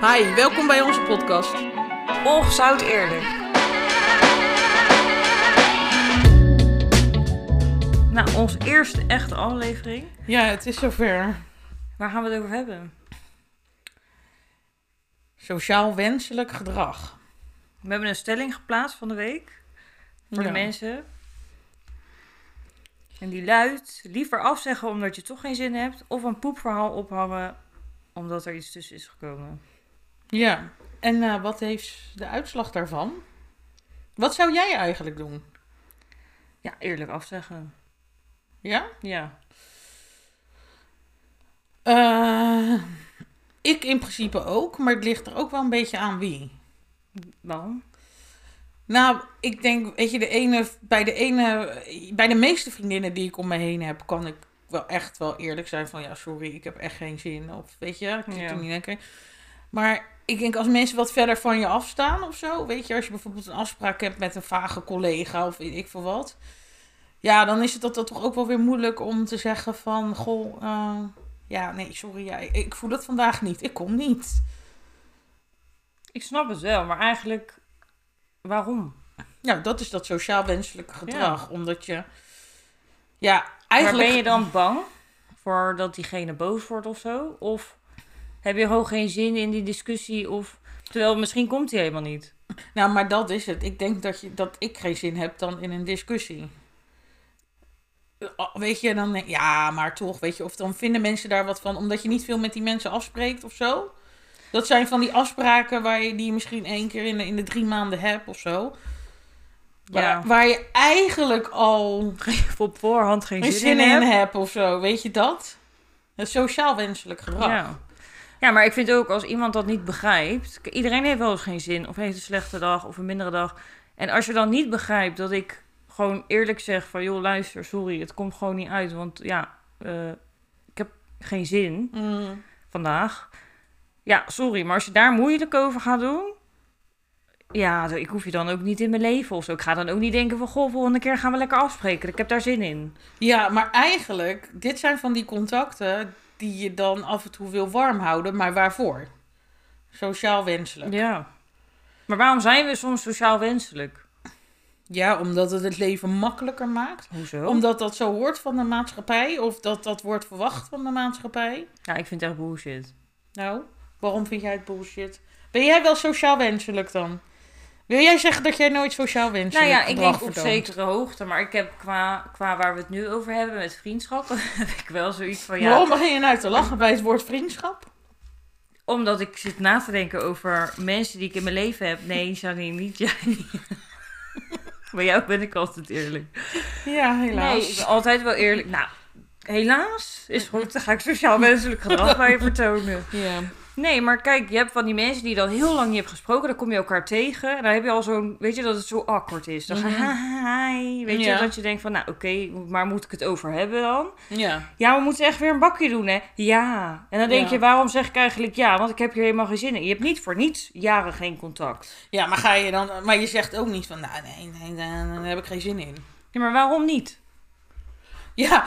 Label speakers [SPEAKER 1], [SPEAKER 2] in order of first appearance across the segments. [SPEAKER 1] Hi, welkom bij onze podcast.
[SPEAKER 2] Ongezout eerlijk. Nou, onze eerste echte aflevering.
[SPEAKER 1] Ja, het is zover.
[SPEAKER 2] Waar gaan we het over hebben?
[SPEAKER 1] Sociaal wenselijk gedrag.
[SPEAKER 2] We hebben een stelling geplaatst van de week. Voor
[SPEAKER 1] Ja.
[SPEAKER 2] de mensen. En die luidt, liever afzeggen omdat je toch geen zin hebt. Of een poepverhaal ophangen omdat er iets tussen is gekomen.
[SPEAKER 1] Ja. En eh, wat heeft de uitslag daarvan? Wat zou jij eigenlijk doen?
[SPEAKER 2] Ja, eerlijk afzeggen.
[SPEAKER 1] Ja?
[SPEAKER 2] Ja.
[SPEAKER 1] Eh, ik in principe ook, maar het ligt er ook wel een beetje aan wie.
[SPEAKER 2] Waarom?
[SPEAKER 1] Nou, ik denk, weet je, de ene, bij, de ene, bij de meeste vriendinnen die ik om me heen heb, kan ik wel echt wel eerlijk zijn van, ja, sorry, ik heb echt geen zin. Of weet je, ik zit
[SPEAKER 2] Ja.
[SPEAKER 1] er niet lekker. Maar ik denk als mensen wat verder van je afstaan of zo, weet je, als je bijvoorbeeld een afspraak hebt met een vage collega of weet ik veel wat. Ja, dan is het dat, dat toch ook wel weer moeilijk om te zeggen van, goh, eh, ja, nee, sorry, ja, ik voel het vandaag niet, ik kom niet.
[SPEAKER 2] Ik snap het wel, maar eigenlijk waarom?
[SPEAKER 1] Nou, dat is dat sociaal wenselijke gedrag. Omdat je. Ja,
[SPEAKER 2] Maar
[SPEAKER 1] eigenlijk.
[SPEAKER 2] ben je dan bang voor dat diegene boos wordt of zo? Of heb je gewoon geen zin in die discussie? Of terwijl misschien komt hij helemaal niet.
[SPEAKER 1] Nou, maar dat is het. Ik denk dat, je, dat ik geen zin heb dan in een discussie. Oh, Weet je, dan denk ja, maar toch, weet je, of dan vinden mensen daar wat van, omdat je niet veel met die mensen afspreekt of zo. Dat zijn van die afspraken waar je die je misschien één keer in de, in de drie maanden hebt of zo. Waar,
[SPEAKER 2] Ja.
[SPEAKER 1] waar je eigenlijk al
[SPEAKER 2] Op voorhand geen
[SPEAKER 1] geen
[SPEAKER 2] zin,
[SPEAKER 1] zin
[SPEAKER 2] in,
[SPEAKER 1] in
[SPEAKER 2] hebt.
[SPEAKER 1] hebt of zo, weet je dat? Het sociaal wenselijk gedrag.
[SPEAKER 2] Ja. ja, maar ik vind ook als iemand dat niet begrijpt. k- Iedereen heeft wel eens geen zin. Of heeft een slechte dag of een mindere dag. En als je dan niet begrijpt dat ik gewoon eerlijk zeg van... joh, luister, sorry, het komt gewoon niet uit. Want ja, eh, ik heb geen zin.
[SPEAKER 1] Mm.
[SPEAKER 2] vandaag. Ja, sorry, maar als je daar moeilijk over gaat doen. Ja, ik hoef je dan ook niet in mijn leven of zo. Ik ga dan ook niet denken van, goh, volgende keer gaan we lekker afspreken. Ik heb daar zin in.
[SPEAKER 1] Ja, maar eigenlijk, dit zijn van die contacten die je dan af en toe wil warm houden, maar waarvoor? Sociaal wenselijk. Ja,
[SPEAKER 2] Ja. Maar waarom zijn we soms sociaal wenselijk?
[SPEAKER 1] omdat het het leven makkelijker maakt.
[SPEAKER 2] Hoezo?
[SPEAKER 1] Omdat dat zo hoort van de maatschappij, of dat dat wordt verwacht van de maatschappij.
[SPEAKER 2] Ja, ik vind het echt bullshit.
[SPEAKER 1] Nou, waarom vind jij het bullshit? Ben jij wel sociaal wenselijk dan? Wil jij zeggen dat jij nooit sociaal
[SPEAKER 2] Nou
[SPEAKER 1] wenselijk
[SPEAKER 2] ja, ik
[SPEAKER 1] gedrag
[SPEAKER 2] denk op
[SPEAKER 1] vertoont?
[SPEAKER 2] zekere hoogte. Maar ik heb qua, qua waar we het nu over hebben met vriendschap... heb ik wel zoiets van, ja...
[SPEAKER 1] Waarom begin je nou te lachen bij het woord vriendschap?
[SPEAKER 2] Omdat ik zit na te denken over mensen die ik in mijn leven heb. Nee, Janine, niet jij. Bij jou ben ik altijd eerlijk.
[SPEAKER 1] Ja, helaas.
[SPEAKER 2] Nee, ik ben altijd wel eerlijk. Nou, helaas is goed. Dan ga ik sociaal-menselijk gedrag bij je vertonen.
[SPEAKER 1] Ja.
[SPEAKER 2] Nee, maar kijk, je hebt van die mensen die je dan heel lang niet hebt gesproken. Dan kom je elkaar tegen. En dan heb je al zo'n... Weet je dat het zo awkward is? Dan ga je... hi, Weet je,
[SPEAKER 1] Ja.
[SPEAKER 2] dat je denkt van... Nou, oké, maar moet ik het over hebben dan?
[SPEAKER 1] ja.
[SPEAKER 2] Ja, we moeten echt weer een bakje doen, hè? Ja. En dan denk
[SPEAKER 1] Ja.
[SPEAKER 2] je, waarom zeg ik eigenlijk ja? Want ik heb hier helemaal geen zin in. Je hebt niet voor niets jaren geen contact.
[SPEAKER 1] Ja, maar ga je dan. Maar je zegt ook niet van nou nee, nee, daar daar heb ik geen zin in.
[SPEAKER 2] Ja, maar waarom niet?
[SPEAKER 1] Ja,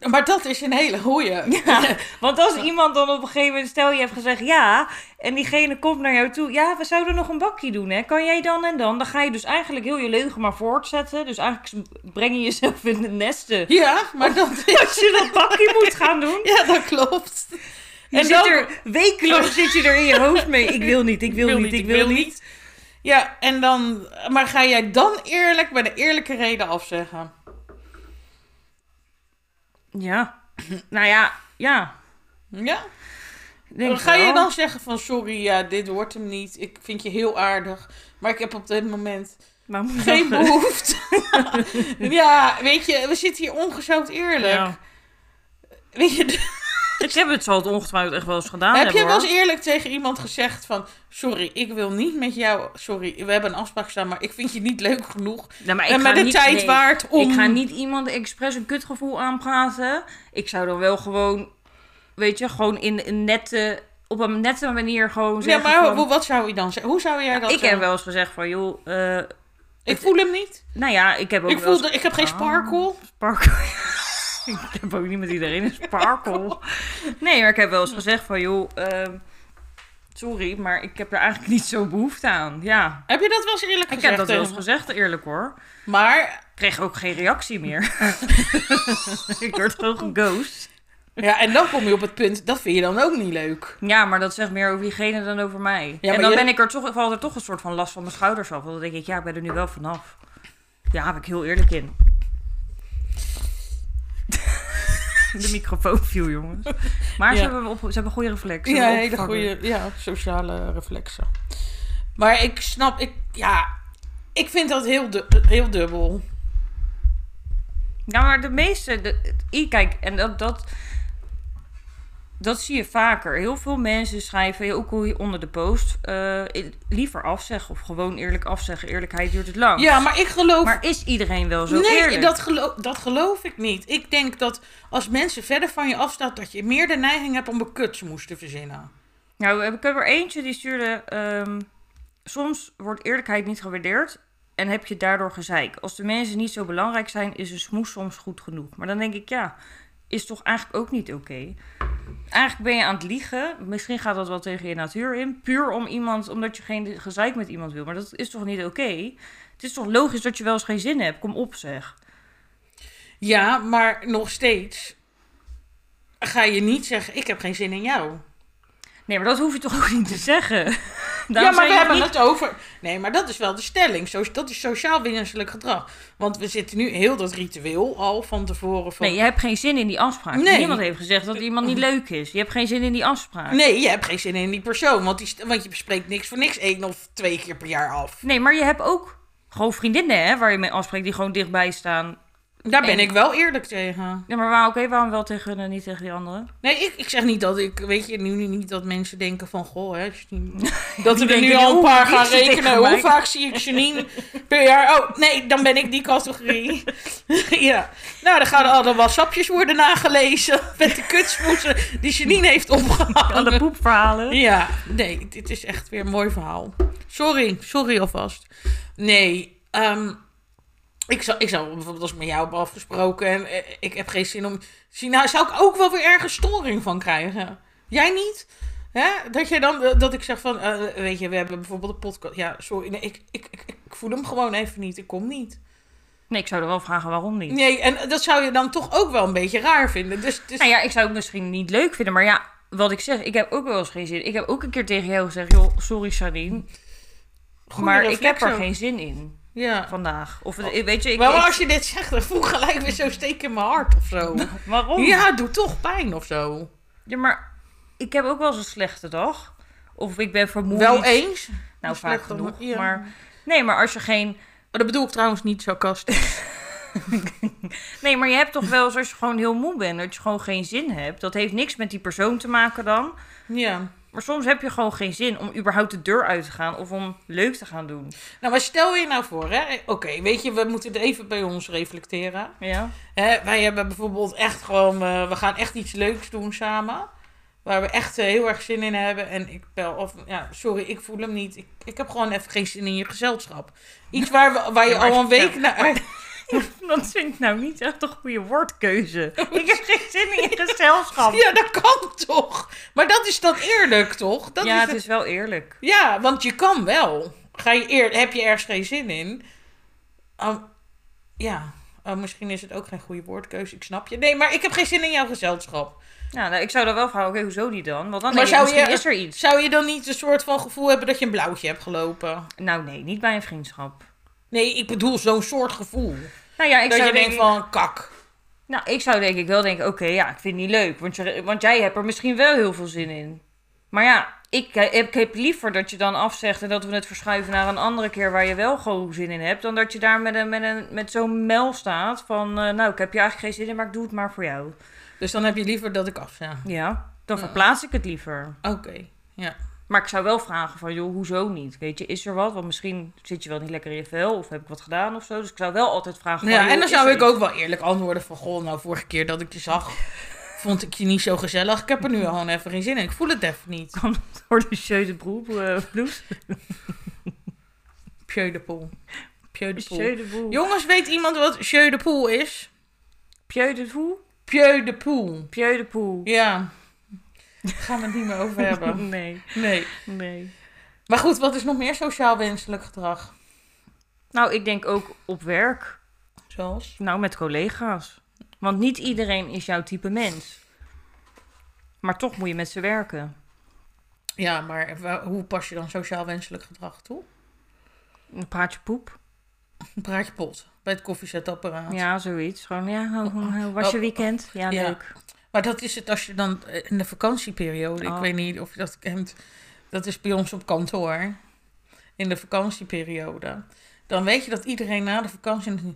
[SPEAKER 1] maar dat is een hele goeie.
[SPEAKER 2] Ja, want als iemand dan op een gegeven moment, stel je hebt gezegd ja, en diegene komt naar jou toe, ja, we zouden nog een bakje doen, hè? Kan jij dan en dan? Dan ga je dus eigenlijk heel je leugen maar voortzetten. Dus eigenlijk breng je jezelf in de nesten
[SPEAKER 1] Ja, maar dat
[SPEAKER 2] als je dat bakje moet gaan doen.
[SPEAKER 1] Ja, dat klopt.
[SPEAKER 2] Je
[SPEAKER 1] En
[SPEAKER 2] zit
[SPEAKER 1] dan-
[SPEAKER 2] er wekenlang zit je er in je hoofd mee. Ik wil niet, ik wil, niet, ik wil niet.
[SPEAKER 1] Ja, en dan. Maar ga jij dan eerlijk bij de eerlijke reden afzeggen?
[SPEAKER 2] Ja. Nou ja, ja.
[SPEAKER 1] Ja?
[SPEAKER 2] Ik denk
[SPEAKER 1] ga je
[SPEAKER 2] wel.
[SPEAKER 1] dan zeggen van sorry, ja, dit wordt hem niet. Ik vind je heel aardig. Maar ik heb op dit moment
[SPEAKER 2] Maar moet
[SPEAKER 1] geen
[SPEAKER 2] dat-
[SPEAKER 1] behoefte. ja, weet je, we zitten hier ongezout eerlijk.
[SPEAKER 2] Ja.
[SPEAKER 1] Weet je,
[SPEAKER 2] Ik heb het zal het ongetwijfeld echt wel eens gedaan
[SPEAKER 1] Heb je
[SPEAKER 2] hebben,
[SPEAKER 1] wel eens
[SPEAKER 2] hoor.
[SPEAKER 1] eerlijk tegen iemand gezegd van... Sorry, ik wil niet met jou... Sorry, we hebben een afspraak staan, maar ik vind je niet leuk genoeg.
[SPEAKER 2] Nou, maar ik
[SPEAKER 1] en
[SPEAKER 2] ga
[SPEAKER 1] maar de
[SPEAKER 2] niet-
[SPEAKER 1] tijd
[SPEAKER 2] nee.
[SPEAKER 1] waard om...
[SPEAKER 2] Ik ga niet iemand expres een kutgevoel aanpraten. Ik zou dan wel gewoon, weet je, gewoon in een nette, op een nette manier gewoon
[SPEAKER 1] Ja,
[SPEAKER 2] zeggen
[SPEAKER 1] maar
[SPEAKER 2] van-
[SPEAKER 1] hoe- wat zou je dan zeggen? Hoe zou jij dat
[SPEAKER 2] ik heb
[SPEAKER 1] zeggen?
[SPEAKER 2] wel eens gezegd van, joh, eh,
[SPEAKER 1] Ik voel hem niet.
[SPEAKER 2] nou ja, ik heb ook
[SPEAKER 1] Ik,
[SPEAKER 2] wel
[SPEAKER 1] voel,
[SPEAKER 2] eens
[SPEAKER 1] de- ik heb geen
[SPEAKER 2] Ah.
[SPEAKER 1] sparkle.
[SPEAKER 2] sparkle. ik heb ook niet met iedereen een sparkle. Nee, maar ik heb wel eens gezegd van, joh, ehm, sorry, maar ik heb er eigenlijk niet zo behoefte aan. Ja,
[SPEAKER 1] Heb je dat wel eens eerlijk
[SPEAKER 2] ik
[SPEAKER 1] gezegd?
[SPEAKER 2] heb dat wel eens
[SPEAKER 1] tegen-
[SPEAKER 2] gezegd, eerlijk hoor.
[SPEAKER 1] Maar,
[SPEAKER 2] Ik kreeg ook geen reactie meer. ik word gewoon geghost.
[SPEAKER 1] ja, en dan kom je op het punt, dat vind je dan ook niet leuk.
[SPEAKER 2] Ja, maar dat zegt meer over diegene dan over mij.
[SPEAKER 1] maar
[SPEAKER 2] en dan
[SPEAKER 1] je-
[SPEAKER 2] ben ik er toch, ik val er toch een soort van last van mijn schouders af. Want dan denk ik, ja, ik ben er nu wel vanaf. Ja, daar ben ik heel eerlijk in. De microfoon viel, jongens. Maar ze,
[SPEAKER 1] Ja.
[SPEAKER 2] hebben op, ze hebben een goede reflex. Ze
[SPEAKER 1] Ja,
[SPEAKER 2] hebben
[SPEAKER 1] hele
[SPEAKER 2] opgevangen.
[SPEAKER 1] goede ja, sociale reflexen. Maar ik snap, ik, ja, ik vind dat heel, du- heel dubbel.
[SPEAKER 2] Ja, maar de meeste... De, het- i- kijk, en dat, dat, dat zie je vaker. Heel veel mensen schrijven, ja, ook hoe je onder de post... eh, i- liever afzeggen of gewoon eerlijk afzeggen. Eerlijkheid duurt het lang.
[SPEAKER 1] Ja, maar ik geloof...
[SPEAKER 2] Maar is iedereen wel zo
[SPEAKER 1] nee,
[SPEAKER 2] eerlijk?
[SPEAKER 1] Dat, geloof, dat geloof ik niet. Ik denk dat als mensen verder van je afstaan, dat je meer de neiging hebt om een kutsmoes te verzinnen.
[SPEAKER 2] Nou, we hebben- ik heb er eentje die stuurde... ehm, soms wordt eerlijkheid niet gewaardeerd en heb je daardoor gezeik. Als de mensen niet zo belangrijk zijn, is een smoes soms goed genoeg. Maar dan denk ik, ja, is toch eigenlijk ook niet oké? Eigenlijk ben je aan het liegen. Misschien gaat dat wel tegen je natuur in. Puur om iemand, omdat je geen gezeik met iemand wil. Maar dat is toch niet oké? Het is toch logisch dat je wel eens geen zin hebt? Kom op, zeg.
[SPEAKER 1] Ja, maar nog steeds ga je niet zeggen, ik heb geen zin in jou.
[SPEAKER 2] Nee, maar dat hoef je toch ook niet te zeggen?
[SPEAKER 1] ja, maar
[SPEAKER 2] Daarom zijn
[SPEAKER 1] we
[SPEAKER 2] je
[SPEAKER 1] hebben
[SPEAKER 2] niet-
[SPEAKER 1] het over... Nee, maar dat is wel de stelling. Zo, dat is sociaal winenselijk gedrag. Want we zitten nu heel dat ritueel al van tevoren van...
[SPEAKER 2] Nee, je hebt geen zin in die afspraak.
[SPEAKER 1] Nee.
[SPEAKER 2] Niemand heeft gezegd dat iemand niet leuk is. Je hebt geen zin in die afspraak. Nee,
[SPEAKER 1] Nee, je hebt geen zin in die persoon. Want, die, st- want je bespreekt niks voor niks één of twee keer per jaar af.
[SPEAKER 2] maar je hebt ook gewoon vriendinnen hè, waar je mee afspreekt die gewoon dichtbij staan.
[SPEAKER 1] Daar ben
[SPEAKER 2] En-
[SPEAKER 1] ik wel eerlijk tegen.
[SPEAKER 2] Ja, maar waar, oké, waarom wel tegen hun en niet tegen die anderen?
[SPEAKER 1] Nee, ik, ik zeg niet dat ik... Weet je, nu niet dat mensen denken van... Goh, hè, Janine. Dat er
[SPEAKER 2] denken,
[SPEAKER 1] nu al een
[SPEAKER 2] "Oeh,
[SPEAKER 1] paar
[SPEAKER 2] die
[SPEAKER 1] gaan
[SPEAKER 2] is er tegen
[SPEAKER 1] rekenen. Hoe
[SPEAKER 2] mij."
[SPEAKER 1] vaak zie ik Janine per jaar? Oh, nee, dan ben ik die categorie. ja. Nou, dan gaan alle whatsappjes worden nagelezen. Met de kutsmoesen die Janine heeft
[SPEAKER 2] Alle
[SPEAKER 1] opgehangen.
[SPEAKER 2] poepverhalen.
[SPEAKER 1] Ja, nee, dit is echt weer een mooi verhaal. Sorry, sorry alvast. Nee, ehm, ik, zou, ik zou bijvoorbeeld als ik met jou heb afgesproken en eh, ik heb geen zin om... Zie, Nou, zou ik ook wel weer ergens storing van krijgen. Jij niet? Hè? Dat, jij dan, eh, dat ik zeg van, eh, weet je, we hebben bijvoorbeeld een podcast. Ja, sorry, nee, ik, ik, ik, ik voel hem gewoon even niet, ik kom niet.
[SPEAKER 2] Nee, ik zou er wel vragen waarom niet.
[SPEAKER 1] Nee, en dat zou je dan toch ook wel een beetje raar vinden. Dus, dus
[SPEAKER 2] Nou ja, ik zou het misschien niet leuk vinden, maar ja, wat ik zeg, ik heb ook wel eens geen zin. Ik heb ook een keer tegen jou gezegd, joh, sorry Sarine,
[SPEAKER 1] goede
[SPEAKER 2] maar ik heb
[SPEAKER 1] reflex
[SPEAKER 2] er
[SPEAKER 1] ook.
[SPEAKER 2] geen zin in
[SPEAKER 1] Ja.
[SPEAKER 2] vandaag. Of eh, weet je, ik,
[SPEAKER 1] maar
[SPEAKER 2] ik-
[SPEAKER 1] als je dit zegt, dan voel ik gelijk weer zo'n steek in mijn hart of zo.
[SPEAKER 2] waarom?
[SPEAKER 1] Ja, het doet toch pijn of zo.
[SPEAKER 2] Ja, maar ik heb ook wel eens een slechte dag. Of ik ben vermoeid.
[SPEAKER 1] Wel eens.
[SPEAKER 2] Nou,
[SPEAKER 1] Een
[SPEAKER 2] vaak
[SPEAKER 1] slechte
[SPEAKER 2] genoeg.
[SPEAKER 1] dag, ja.
[SPEAKER 2] Maar nee, maar als je geen...
[SPEAKER 1] Maar dat bedoel ik trouwens niet sarcastisch.
[SPEAKER 2] Nee, maar je hebt toch wel eens als je gewoon heel moe bent. Dat je gewoon geen zin hebt. Dat heeft niks met die persoon te maken dan.
[SPEAKER 1] ja.
[SPEAKER 2] Maar soms heb je gewoon geen zin om überhaupt de deur uit te gaan. Of om leuk te gaan doen.
[SPEAKER 1] Nou, maar stel je nou voor, hè? Oké, weet je, we moeten het even bij ons reflecteren.
[SPEAKER 2] Ja.
[SPEAKER 1] Hè, wij hebben bijvoorbeeld echt gewoon, eh, we gaan echt iets leuks doen samen. Waar we echt eh, heel erg zin in hebben. En ik bel, of ja, sorry, ik voel hem niet. Ik, ik heb gewoon even geen zin in je gezelschap. Iets waar, we, waar je
[SPEAKER 2] Ja, maar-
[SPEAKER 1] al een week naar.
[SPEAKER 2] Dat vind ik nou niet echt een goede woordkeuze. Ik heb geen zin in je gezelschap.
[SPEAKER 1] Ja, dat kan toch? Maar dat is dan eerlijk, toch? Dat
[SPEAKER 2] ja,
[SPEAKER 1] is
[SPEAKER 2] het is wel eerlijk.
[SPEAKER 1] Ja, want je kan wel. Ga je eer, heb je ergens geen zin in? Oh, ja, Oh, misschien is het ook geen goede woordkeuze. Ik snap je. Nee, maar ik heb geen zin in jouw gezelschap.
[SPEAKER 2] Ja, nou, ik zou dan wel vragen, oké, hoezo die dan? Want dan
[SPEAKER 1] Maar
[SPEAKER 2] denk ik,
[SPEAKER 1] zou
[SPEAKER 2] misschien
[SPEAKER 1] je-
[SPEAKER 2] is er iets.
[SPEAKER 1] Zou je dan niet een soort van gevoel hebben dat je een blauwtje hebt gelopen?
[SPEAKER 2] Nou nee, niet bij een vriendschap.
[SPEAKER 1] Nee, ik bedoel zo'n soort gevoel.
[SPEAKER 2] Nou ja, ik
[SPEAKER 1] dat
[SPEAKER 2] zou
[SPEAKER 1] je denkt
[SPEAKER 2] ik-
[SPEAKER 1] van, kak.
[SPEAKER 2] Nou, ik zou denk ik wel denken, oké, ja, ik vind het niet leuk. Want, je, want jij hebt er misschien wel heel veel zin in. Maar ja, ik heb, ik heb liever dat je dan afzegt en dat we het verschuiven naar een andere keer waar je wel gewoon zin in hebt. Dan dat je daar met, een, met, een, met zo'n mel staat van, eh, nou, ik heb je eigenlijk geen zin in, maar ik doe het maar voor jou.
[SPEAKER 1] Dus dan heb je liever dat ik afza.
[SPEAKER 2] Ja, dan verplaats ik het liever.
[SPEAKER 1] Oké, ja.
[SPEAKER 2] Maar ik zou wel vragen van, joh, hoezo niet? Weet je, is er wat? Want misschien zit je wel niet lekker in je vel of heb ik wat gedaan of zo. Dus ik zou wel altijd vragen van,
[SPEAKER 1] Nou ja
[SPEAKER 2] joh,
[SPEAKER 1] en dan
[SPEAKER 2] is
[SPEAKER 1] zou
[SPEAKER 2] er
[SPEAKER 1] ik ook wel eerlijk antwoorden van... Goh, nou, vorige keer dat ik je zag, vond ik je niet zo gezellig. Ik heb er nu al even geen zin in. Ik voel het even niet.
[SPEAKER 2] iets? Kan het door de jeu de broer, eh, blouse?
[SPEAKER 1] Pieu de Poel. Pieu de Poel.
[SPEAKER 2] Jeu de boel.
[SPEAKER 1] Jongens, weet iemand wat Jeu de Poel is?
[SPEAKER 2] Pieu de Poel?
[SPEAKER 1] Pieu de Poel.
[SPEAKER 2] Pieu de Poel.
[SPEAKER 1] Ja. Gaan we het niet meer over hebben.
[SPEAKER 2] nee,
[SPEAKER 1] Nee.
[SPEAKER 2] nee.
[SPEAKER 1] Maar goed, wat is nog meer sociaal wenselijk gedrag?
[SPEAKER 2] Nou, ik denk ook op werk.
[SPEAKER 1] Zoals?
[SPEAKER 2] Nou, met collega's. Want niet iedereen is jouw type mens. Maar toch moet je met ze werken.
[SPEAKER 1] Ja, maar wa- hoe pas je dan sociaal wenselijk gedrag toe?
[SPEAKER 2] Een praatje poep.
[SPEAKER 1] Een praatje pot bij het koffiezetapparaat.
[SPEAKER 2] Ja, zoiets. Gewoon, ja, hoe, hoe- hoe was je weekend? Ja,
[SPEAKER 1] Oh. Ja.
[SPEAKER 2] leuk.
[SPEAKER 1] Maar dat is het als je dan eh, in de vakantieperiode, ik
[SPEAKER 2] Oh.
[SPEAKER 1] weet niet of je dat kent, dat is bij ons op kantoor, in de vakantieperiode. Dan weet je dat iedereen na de vakantie,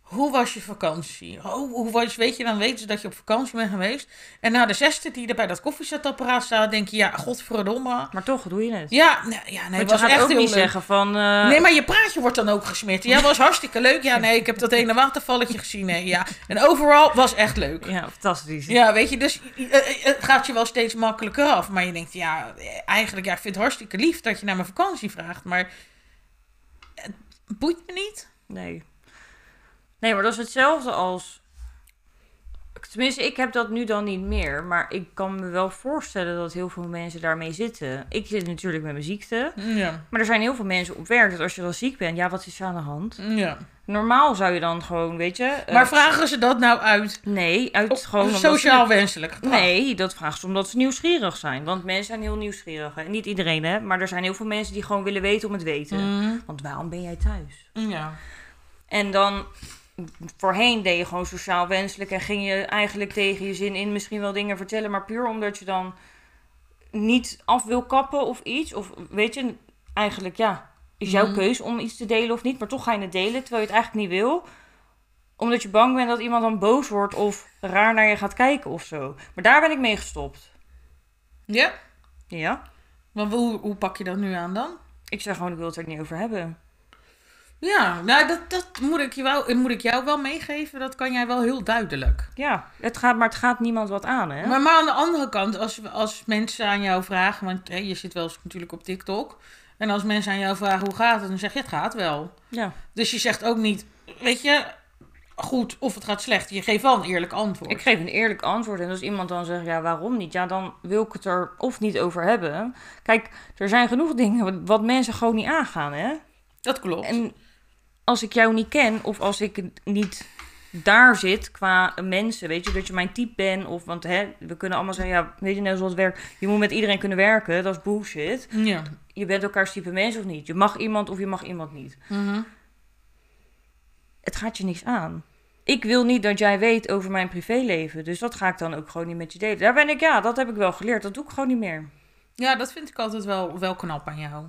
[SPEAKER 1] hoe was je vakantie? Oh, hoe was, weet je, dan weten ze dat je op vakantie bent geweest. En na de zesde die er bij dat koffiezetapparaat staat, denk je, ja, godverdomme.
[SPEAKER 2] Maar toch doe je het.
[SPEAKER 1] Ja, nee, ja, nee,
[SPEAKER 2] Want
[SPEAKER 1] het
[SPEAKER 2] je
[SPEAKER 1] was
[SPEAKER 2] gaat
[SPEAKER 1] echt
[SPEAKER 2] ook
[SPEAKER 1] heel
[SPEAKER 2] niet
[SPEAKER 1] leuk.
[SPEAKER 2] zeggen van... eh,
[SPEAKER 1] Nee, maar je praatje wordt dan ook gesmeerd. Ja, was hartstikke leuk. Ja, nee, ik heb dat ene watervalletje gezien. Nee, ja. En overal was echt leuk.
[SPEAKER 2] Ja, fantastisch.
[SPEAKER 1] Ja, weet je, dus eh, eh, het gaat je wel steeds makkelijker af. Maar je denkt, ja, eh, eigenlijk, ja, ik vind het hartstikke lief dat je naar mijn vakantie vraagt. Maar het boeit me niet.
[SPEAKER 2] Nee. Nee, maar dat is hetzelfde als... Tenminste, ik heb dat nu dan niet meer. Maar ik kan me wel voorstellen dat heel veel mensen daarmee zitten. Ik zit natuurlijk met mijn ziekte.
[SPEAKER 1] Ja,
[SPEAKER 2] Maar er zijn heel veel mensen op werk dat als je dan ziek bent... Ja, wat is er aan de hand?
[SPEAKER 1] ja.
[SPEAKER 2] Normaal zou je dan gewoon, weet je... eh,
[SPEAKER 1] Maar vragen ze dat nou uit?
[SPEAKER 2] Nee, uit
[SPEAKER 1] Op
[SPEAKER 2] gewoon... omdat ze-
[SPEAKER 1] sociaal wenselijk gedrag?
[SPEAKER 2] Nee, dat vraagt ze omdat ze nieuwsgierig zijn. Want mensen zijn heel nieuwsgierig. Hè? Niet iedereen, hè. Maar er zijn heel veel mensen die gewoon willen weten om het weten.
[SPEAKER 1] Mm,
[SPEAKER 2] Want waarom ben jij thuis?
[SPEAKER 1] ja.
[SPEAKER 2] En dan voorheen deed je gewoon sociaal wenselijk en ging je eigenlijk tegen je zin in misschien wel dingen vertellen, maar puur omdat je dan niet af wil kappen of iets. Of weet je, eigenlijk ja, is jouw
[SPEAKER 1] Mhm.
[SPEAKER 2] keus om iets te delen of niet, maar toch ga je het delen terwijl je het eigenlijk niet wil omdat je bang bent dat iemand dan boos wordt of raar naar je gaat kijken of zo. Maar daar ben ik mee gestopt.
[SPEAKER 1] Ja?
[SPEAKER 2] Ja.
[SPEAKER 1] Maar hoe, hoe pak je dat nu aan dan?
[SPEAKER 2] Ik zeg gewoon, ik wil het er niet over hebben.
[SPEAKER 1] Ja, nou, dat, dat moet, ik je wel, moet ik jou wel meegeven. Dat kan jij wel heel duidelijk.
[SPEAKER 2] Ja, het gaat, maar het gaat niemand wat aan, hè?
[SPEAKER 1] Maar, maar aan de andere kant, als, als mensen aan jou vragen, want hè, je zit wel eens natuurlijk op TikTok. En als mensen aan jou vragen hoe gaat het, dan zeg je het gaat wel.
[SPEAKER 2] Ja.
[SPEAKER 1] Dus je zegt ook niet, weet je, goed of het gaat slecht. Je geeft wel een eerlijk antwoord.
[SPEAKER 2] Ik geef een eerlijk antwoord. En als iemand dan zegt, ja, waarom niet? Ja, dan wil ik het er of niet over hebben. Kijk, er zijn genoeg dingen wat, wat mensen gewoon niet aangaan, hè?
[SPEAKER 1] Dat klopt.
[SPEAKER 2] En als ik jou niet ken, of als ik niet daar zit qua mensen, weet je, dat je mijn type bent. Of, want hè, we kunnen allemaal zeggen, ja, weet je nou zoals het werkt? Je moet met iedereen kunnen werken, dat is bullshit.
[SPEAKER 1] Ja.
[SPEAKER 2] Je bent elkaars type mens of niet. Je mag iemand of je mag iemand niet
[SPEAKER 1] Mhm.
[SPEAKER 2] het gaat je niks aan. Ik wil niet dat jij weet over mijn privéleven. Dus dat ga ik dan ook gewoon niet met je delen. Daar ben ik, ja, dat heb ik wel geleerd. Dat doe ik gewoon niet meer.
[SPEAKER 1] ja, dat vind ik altijd wel, wel knap aan jou.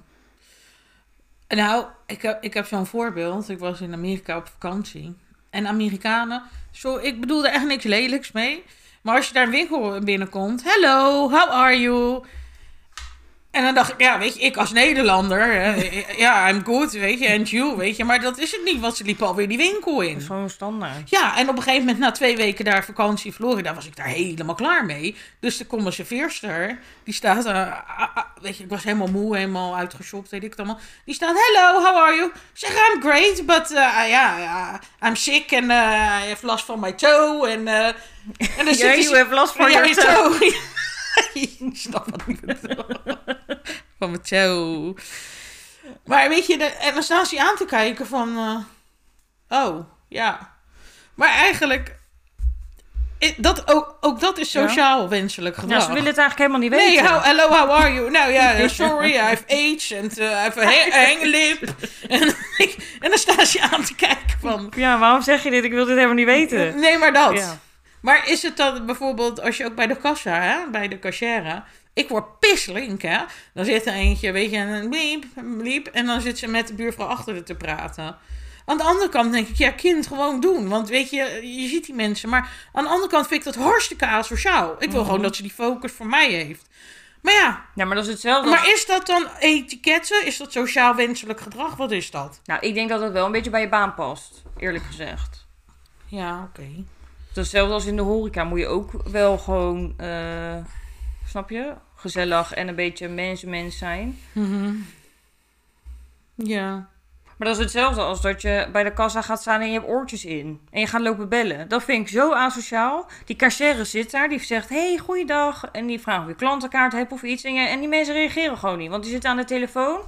[SPEAKER 1] Nou, ik heb, ik heb zo'n voorbeeld. Ik was in Amerika op vakantie. En Amerikanen, zo, ik bedoel er echt niks lelijks mee. Maar als je daar een winkel binnenkomt, hello, how are you? En dan dacht ik, ja, weet je, ik als Nederlander, eh, ja, I'm good, weet je, and you, weet je. Maar dat is het niet, want ze liepen alweer die winkel
[SPEAKER 2] Dat
[SPEAKER 1] in.
[SPEAKER 2] is gewoon standaard.
[SPEAKER 1] Ja, en op een gegeven moment na twee weken daar vakantie in Florida was ik daar helemaal klaar mee. Dus de conserveerster, die staat, eh, ah, ah, weet je, ik was helemaal moe, helemaal uitgeshopt, weet ik het allemaal. Die staat, hello, how are you? Ik Zeg, I'm great, but eh, ah, ja, yeah, yeah, I'm sick and eh, I have last van my toe. En, eh en dan zit
[SPEAKER 2] Ja,
[SPEAKER 1] die-
[SPEAKER 2] you have last
[SPEAKER 1] van
[SPEAKER 2] van your toe.
[SPEAKER 1] Ik snap wat ik bedoel. Van mijn toe. Maar weet je, de, en dan staan ze je aan te kijken van... eh, oh, ja. Maar eigenlijk... i- Dat, ook, ook dat is
[SPEAKER 2] Ja.
[SPEAKER 1] sociaal wenselijk gedrag.
[SPEAKER 2] Nou, ze willen het eigenlijk helemaal niet
[SPEAKER 1] Nee,
[SPEAKER 2] weten.
[SPEAKER 1] how, hello, how are you? Nou ja, eh, sorry, I have AIDS and eh, I have a he- a hanglip. En, ik- en dan staan ze je aan te kijken van...
[SPEAKER 2] Ja, waarom zeg je dit? Ik wil dit helemaal niet weten.
[SPEAKER 1] Nee, maar dat.
[SPEAKER 2] Ja.
[SPEAKER 1] Maar is het dan bijvoorbeeld, als je ook bij de kassa, hè, bij de cachère... Ik word pisslink, hè. Dan zit er eentje, weet je, en dan bliep, bliep. En dan zit ze met de buurvrouw achter haar te praten. Aan de andere kant denk ik, ja, kind, gewoon doen. Want weet je, je ziet die mensen. Maar aan de andere kant vind ik dat hartstikke asociaal. Ik wil gewoon dat ze die focus voor mij heeft. Maar ja,
[SPEAKER 2] Ja, maar dat is hetzelfde. als-
[SPEAKER 1] maar is dat dan etiketten? Is dat sociaal wenselijk gedrag? Wat is dat?
[SPEAKER 2] Nou, ik denk dat het wel een beetje bij je baan past. Eerlijk gezegd.
[SPEAKER 1] Ja, oké.
[SPEAKER 2] Dat is hetzelfde als in de horeca. Moet je ook wel gewoon, eh, snap je? Gezellig en een beetje mensen mens zijn.
[SPEAKER 1] Ja.
[SPEAKER 2] Maar dat is hetzelfde als dat je bij de kassa gaat staan en je hebt oortjes in. En je gaat lopen bellen. Dat vind ik zo asociaal. Die cashier zit daar, die zegt, hey, goeiedag. En die vraagt of je klantenkaart hebt of iets. En, je- en die mensen reageren gewoon niet, want die zitten aan de telefoon.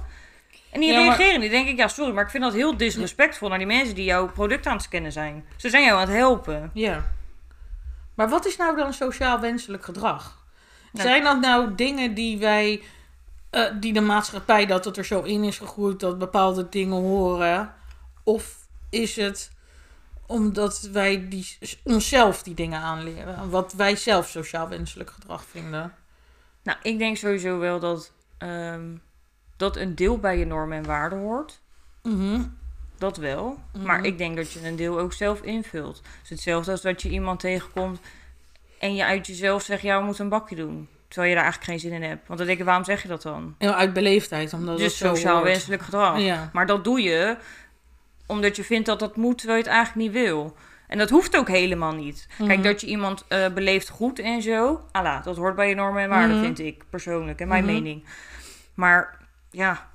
[SPEAKER 2] En die
[SPEAKER 1] Ja, maar-
[SPEAKER 2] reageren niet. Dan denk ik, ja, sorry, maar ik vind dat heel disrespectvol naar die mensen die jouw product aan het scannen zijn. Ze zijn jou aan het helpen.
[SPEAKER 1] Ja. Maar wat is nou dan sociaal wenselijk gedrag?
[SPEAKER 2] Nou-
[SPEAKER 1] Zijn dat nou dingen die wij, eh, die de maatschappij, dat het er zo in is gegroeid dat bepaalde dingen horen? Of is het omdat wij die, onszelf die dingen aanleren? Wat wij zelf sociaal wenselijk gedrag vinden?
[SPEAKER 2] Nou, ik denk sowieso wel dat, ehm, dat een deel bij je normen en waarden hoort.
[SPEAKER 1] Mhm.
[SPEAKER 2] Dat wel.
[SPEAKER 1] Mhm.
[SPEAKER 2] Maar ik denk dat je een deel ook zelf invult. Het is hetzelfde als dat je iemand tegenkomt en je uit jezelf zegt, ja, we moeten een bakje doen. Terwijl je daar eigenlijk geen zin in hebt. Want dan denk ik, waarom zeg je dat dan?
[SPEAKER 1] Ja, uit beleefdheid, omdat het
[SPEAKER 2] dus
[SPEAKER 1] zo
[SPEAKER 2] sociaal
[SPEAKER 1] hoort.
[SPEAKER 2] wenselijk gedrag.
[SPEAKER 1] Ja.
[SPEAKER 2] Maar dat doe je omdat je vindt dat dat moet, terwijl je het eigenlijk niet wil. En dat hoeft ook helemaal niet.
[SPEAKER 1] Mhm.
[SPEAKER 2] Kijk, dat je iemand eh, beleeft goed en zo. Ala, dat hoort bij je normen en waarden,
[SPEAKER 1] Mhm.
[SPEAKER 2] vind ik persoonlijk. En mijn
[SPEAKER 1] Mhm.
[SPEAKER 2] mening. Maar ja,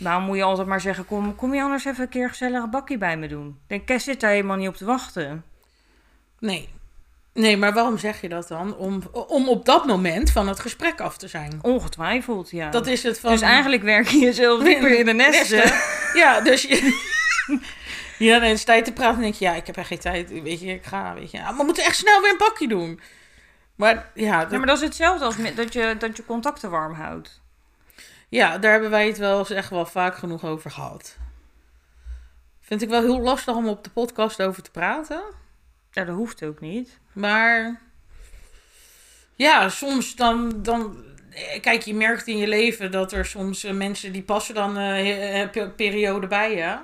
[SPEAKER 2] waarom moet je altijd maar zeggen... Kom, kom je anders even een keer gezellig een bakje bij me doen? Ik Denk, Kes zit daar helemaal niet op te wachten.
[SPEAKER 1] Nee. Nee, maar waarom zeg je dat dan? Om, om op dat moment van het gesprek af te zijn.
[SPEAKER 2] Ongetwijfeld, ja.
[SPEAKER 1] Dat is het van...
[SPEAKER 2] Dus eigenlijk werk je jezelf
[SPEAKER 1] Nee,
[SPEAKER 2] dieper in de nesten.
[SPEAKER 1] Ja, dus je... Ja, dan is het tijd te praten. Dan denk je, ja, ik heb echt geen tijd. Weet je, ik ga, weet je. Ja, Maar we moeten echt snel weer een pakje doen. Maar ja, dat-
[SPEAKER 2] Ja, maar dat is hetzelfde als met- dat je, dat je contacten warm houdt.
[SPEAKER 1] ja, daar hebben wij het wel eens echt wel vaak genoeg over gehad. Vind ik wel heel lastig om op de podcast over te praten.
[SPEAKER 2] Ja, dat hoeft ook niet.
[SPEAKER 1] Maar ja, soms dan, dan. eh, Kijk, je merkt in je leven dat er soms eh, mensen die passen dan eh, he- eh, pe- periode bij je.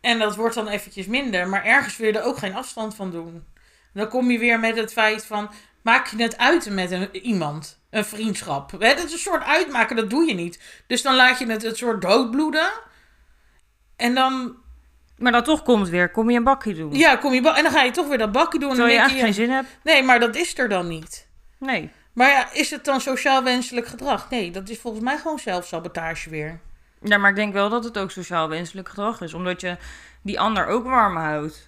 [SPEAKER 1] En dat wordt dan eventjes minder. Maar ergens wil je er ook geen afstand van doen. Dan kom je weer met het feit van. Maak je het uit met een, iemand? Een vriendschap. Hè, dat is een soort uitmaken, dat doe je niet. Dus dan laat je het het soort doodbloeden. En dan,
[SPEAKER 2] Maar dan toch komt weer, kom je een bakje doen.
[SPEAKER 1] ja, kom je ba- en dan ga je toch weer dat bakje doen. En dan
[SPEAKER 2] Hm. Terwijl je
[SPEAKER 1] denk je,
[SPEAKER 2] eigenlijk geen zin hebt.
[SPEAKER 1] nee, maar dat is er dan niet.
[SPEAKER 2] Nee.
[SPEAKER 1] Maar ja, is het dan sociaal wenselijk gedrag? Nee, dat is volgens mij gewoon zelfsabotage weer.
[SPEAKER 2] Ja, maar ik denk wel dat het ook sociaal wenselijk gedrag is. Omdat je die ander ook warm houdt.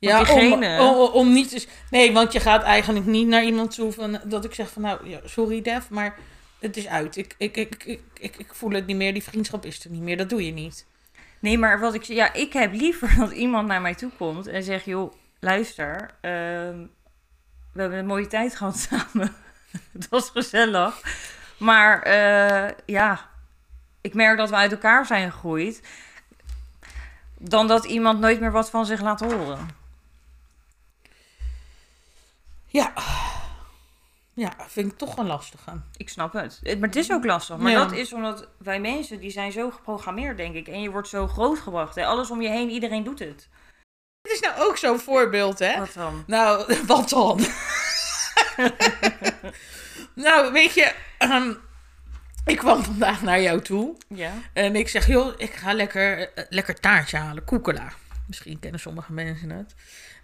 [SPEAKER 2] Want diegene-
[SPEAKER 1] om, om, om niet eens... Nee, want je gaat eigenlijk niet naar iemand toe van, dat ik zeg van... Nou, ja, sorry Def, maar het is uit. Ik, ik, ik, ik, ik, ik voel het niet meer. Die vriendschap is er niet meer. Dat doe je niet.
[SPEAKER 2] Nee, maar wat ik... Ja, ik heb liever dat iemand naar mij toe komt en zegt... joh, luister, ehm, we hebben een mooie tijd gehad samen. het was gezellig. Maar eh, ja, ik merk dat we uit elkaar zijn gegroeid. Dan dat iemand nooit meer wat van zich laat horen.
[SPEAKER 1] Ja. Ja, vind ik toch een lastige.
[SPEAKER 2] Ik snap het. Het- Maar het is ook lastig. Maar
[SPEAKER 1] Ja.
[SPEAKER 2] dat is omdat wij mensen, die zijn zo geprogrammeerd, denk ik. En je wordt zo grootgebracht. Hè? Alles om je heen, iedereen doet het.
[SPEAKER 1] Dit is nou ook zo'n voorbeeld, hè?
[SPEAKER 2] Wat dan?
[SPEAKER 1] Nou, wat dan? nou, weet je... ehm, ik kwam vandaag naar jou toe.
[SPEAKER 2] Ja.
[SPEAKER 1] En ik zeg, joh, ik ga lekker, eh, lekker taartje halen, koekela. Misschien kennen sommige mensen het.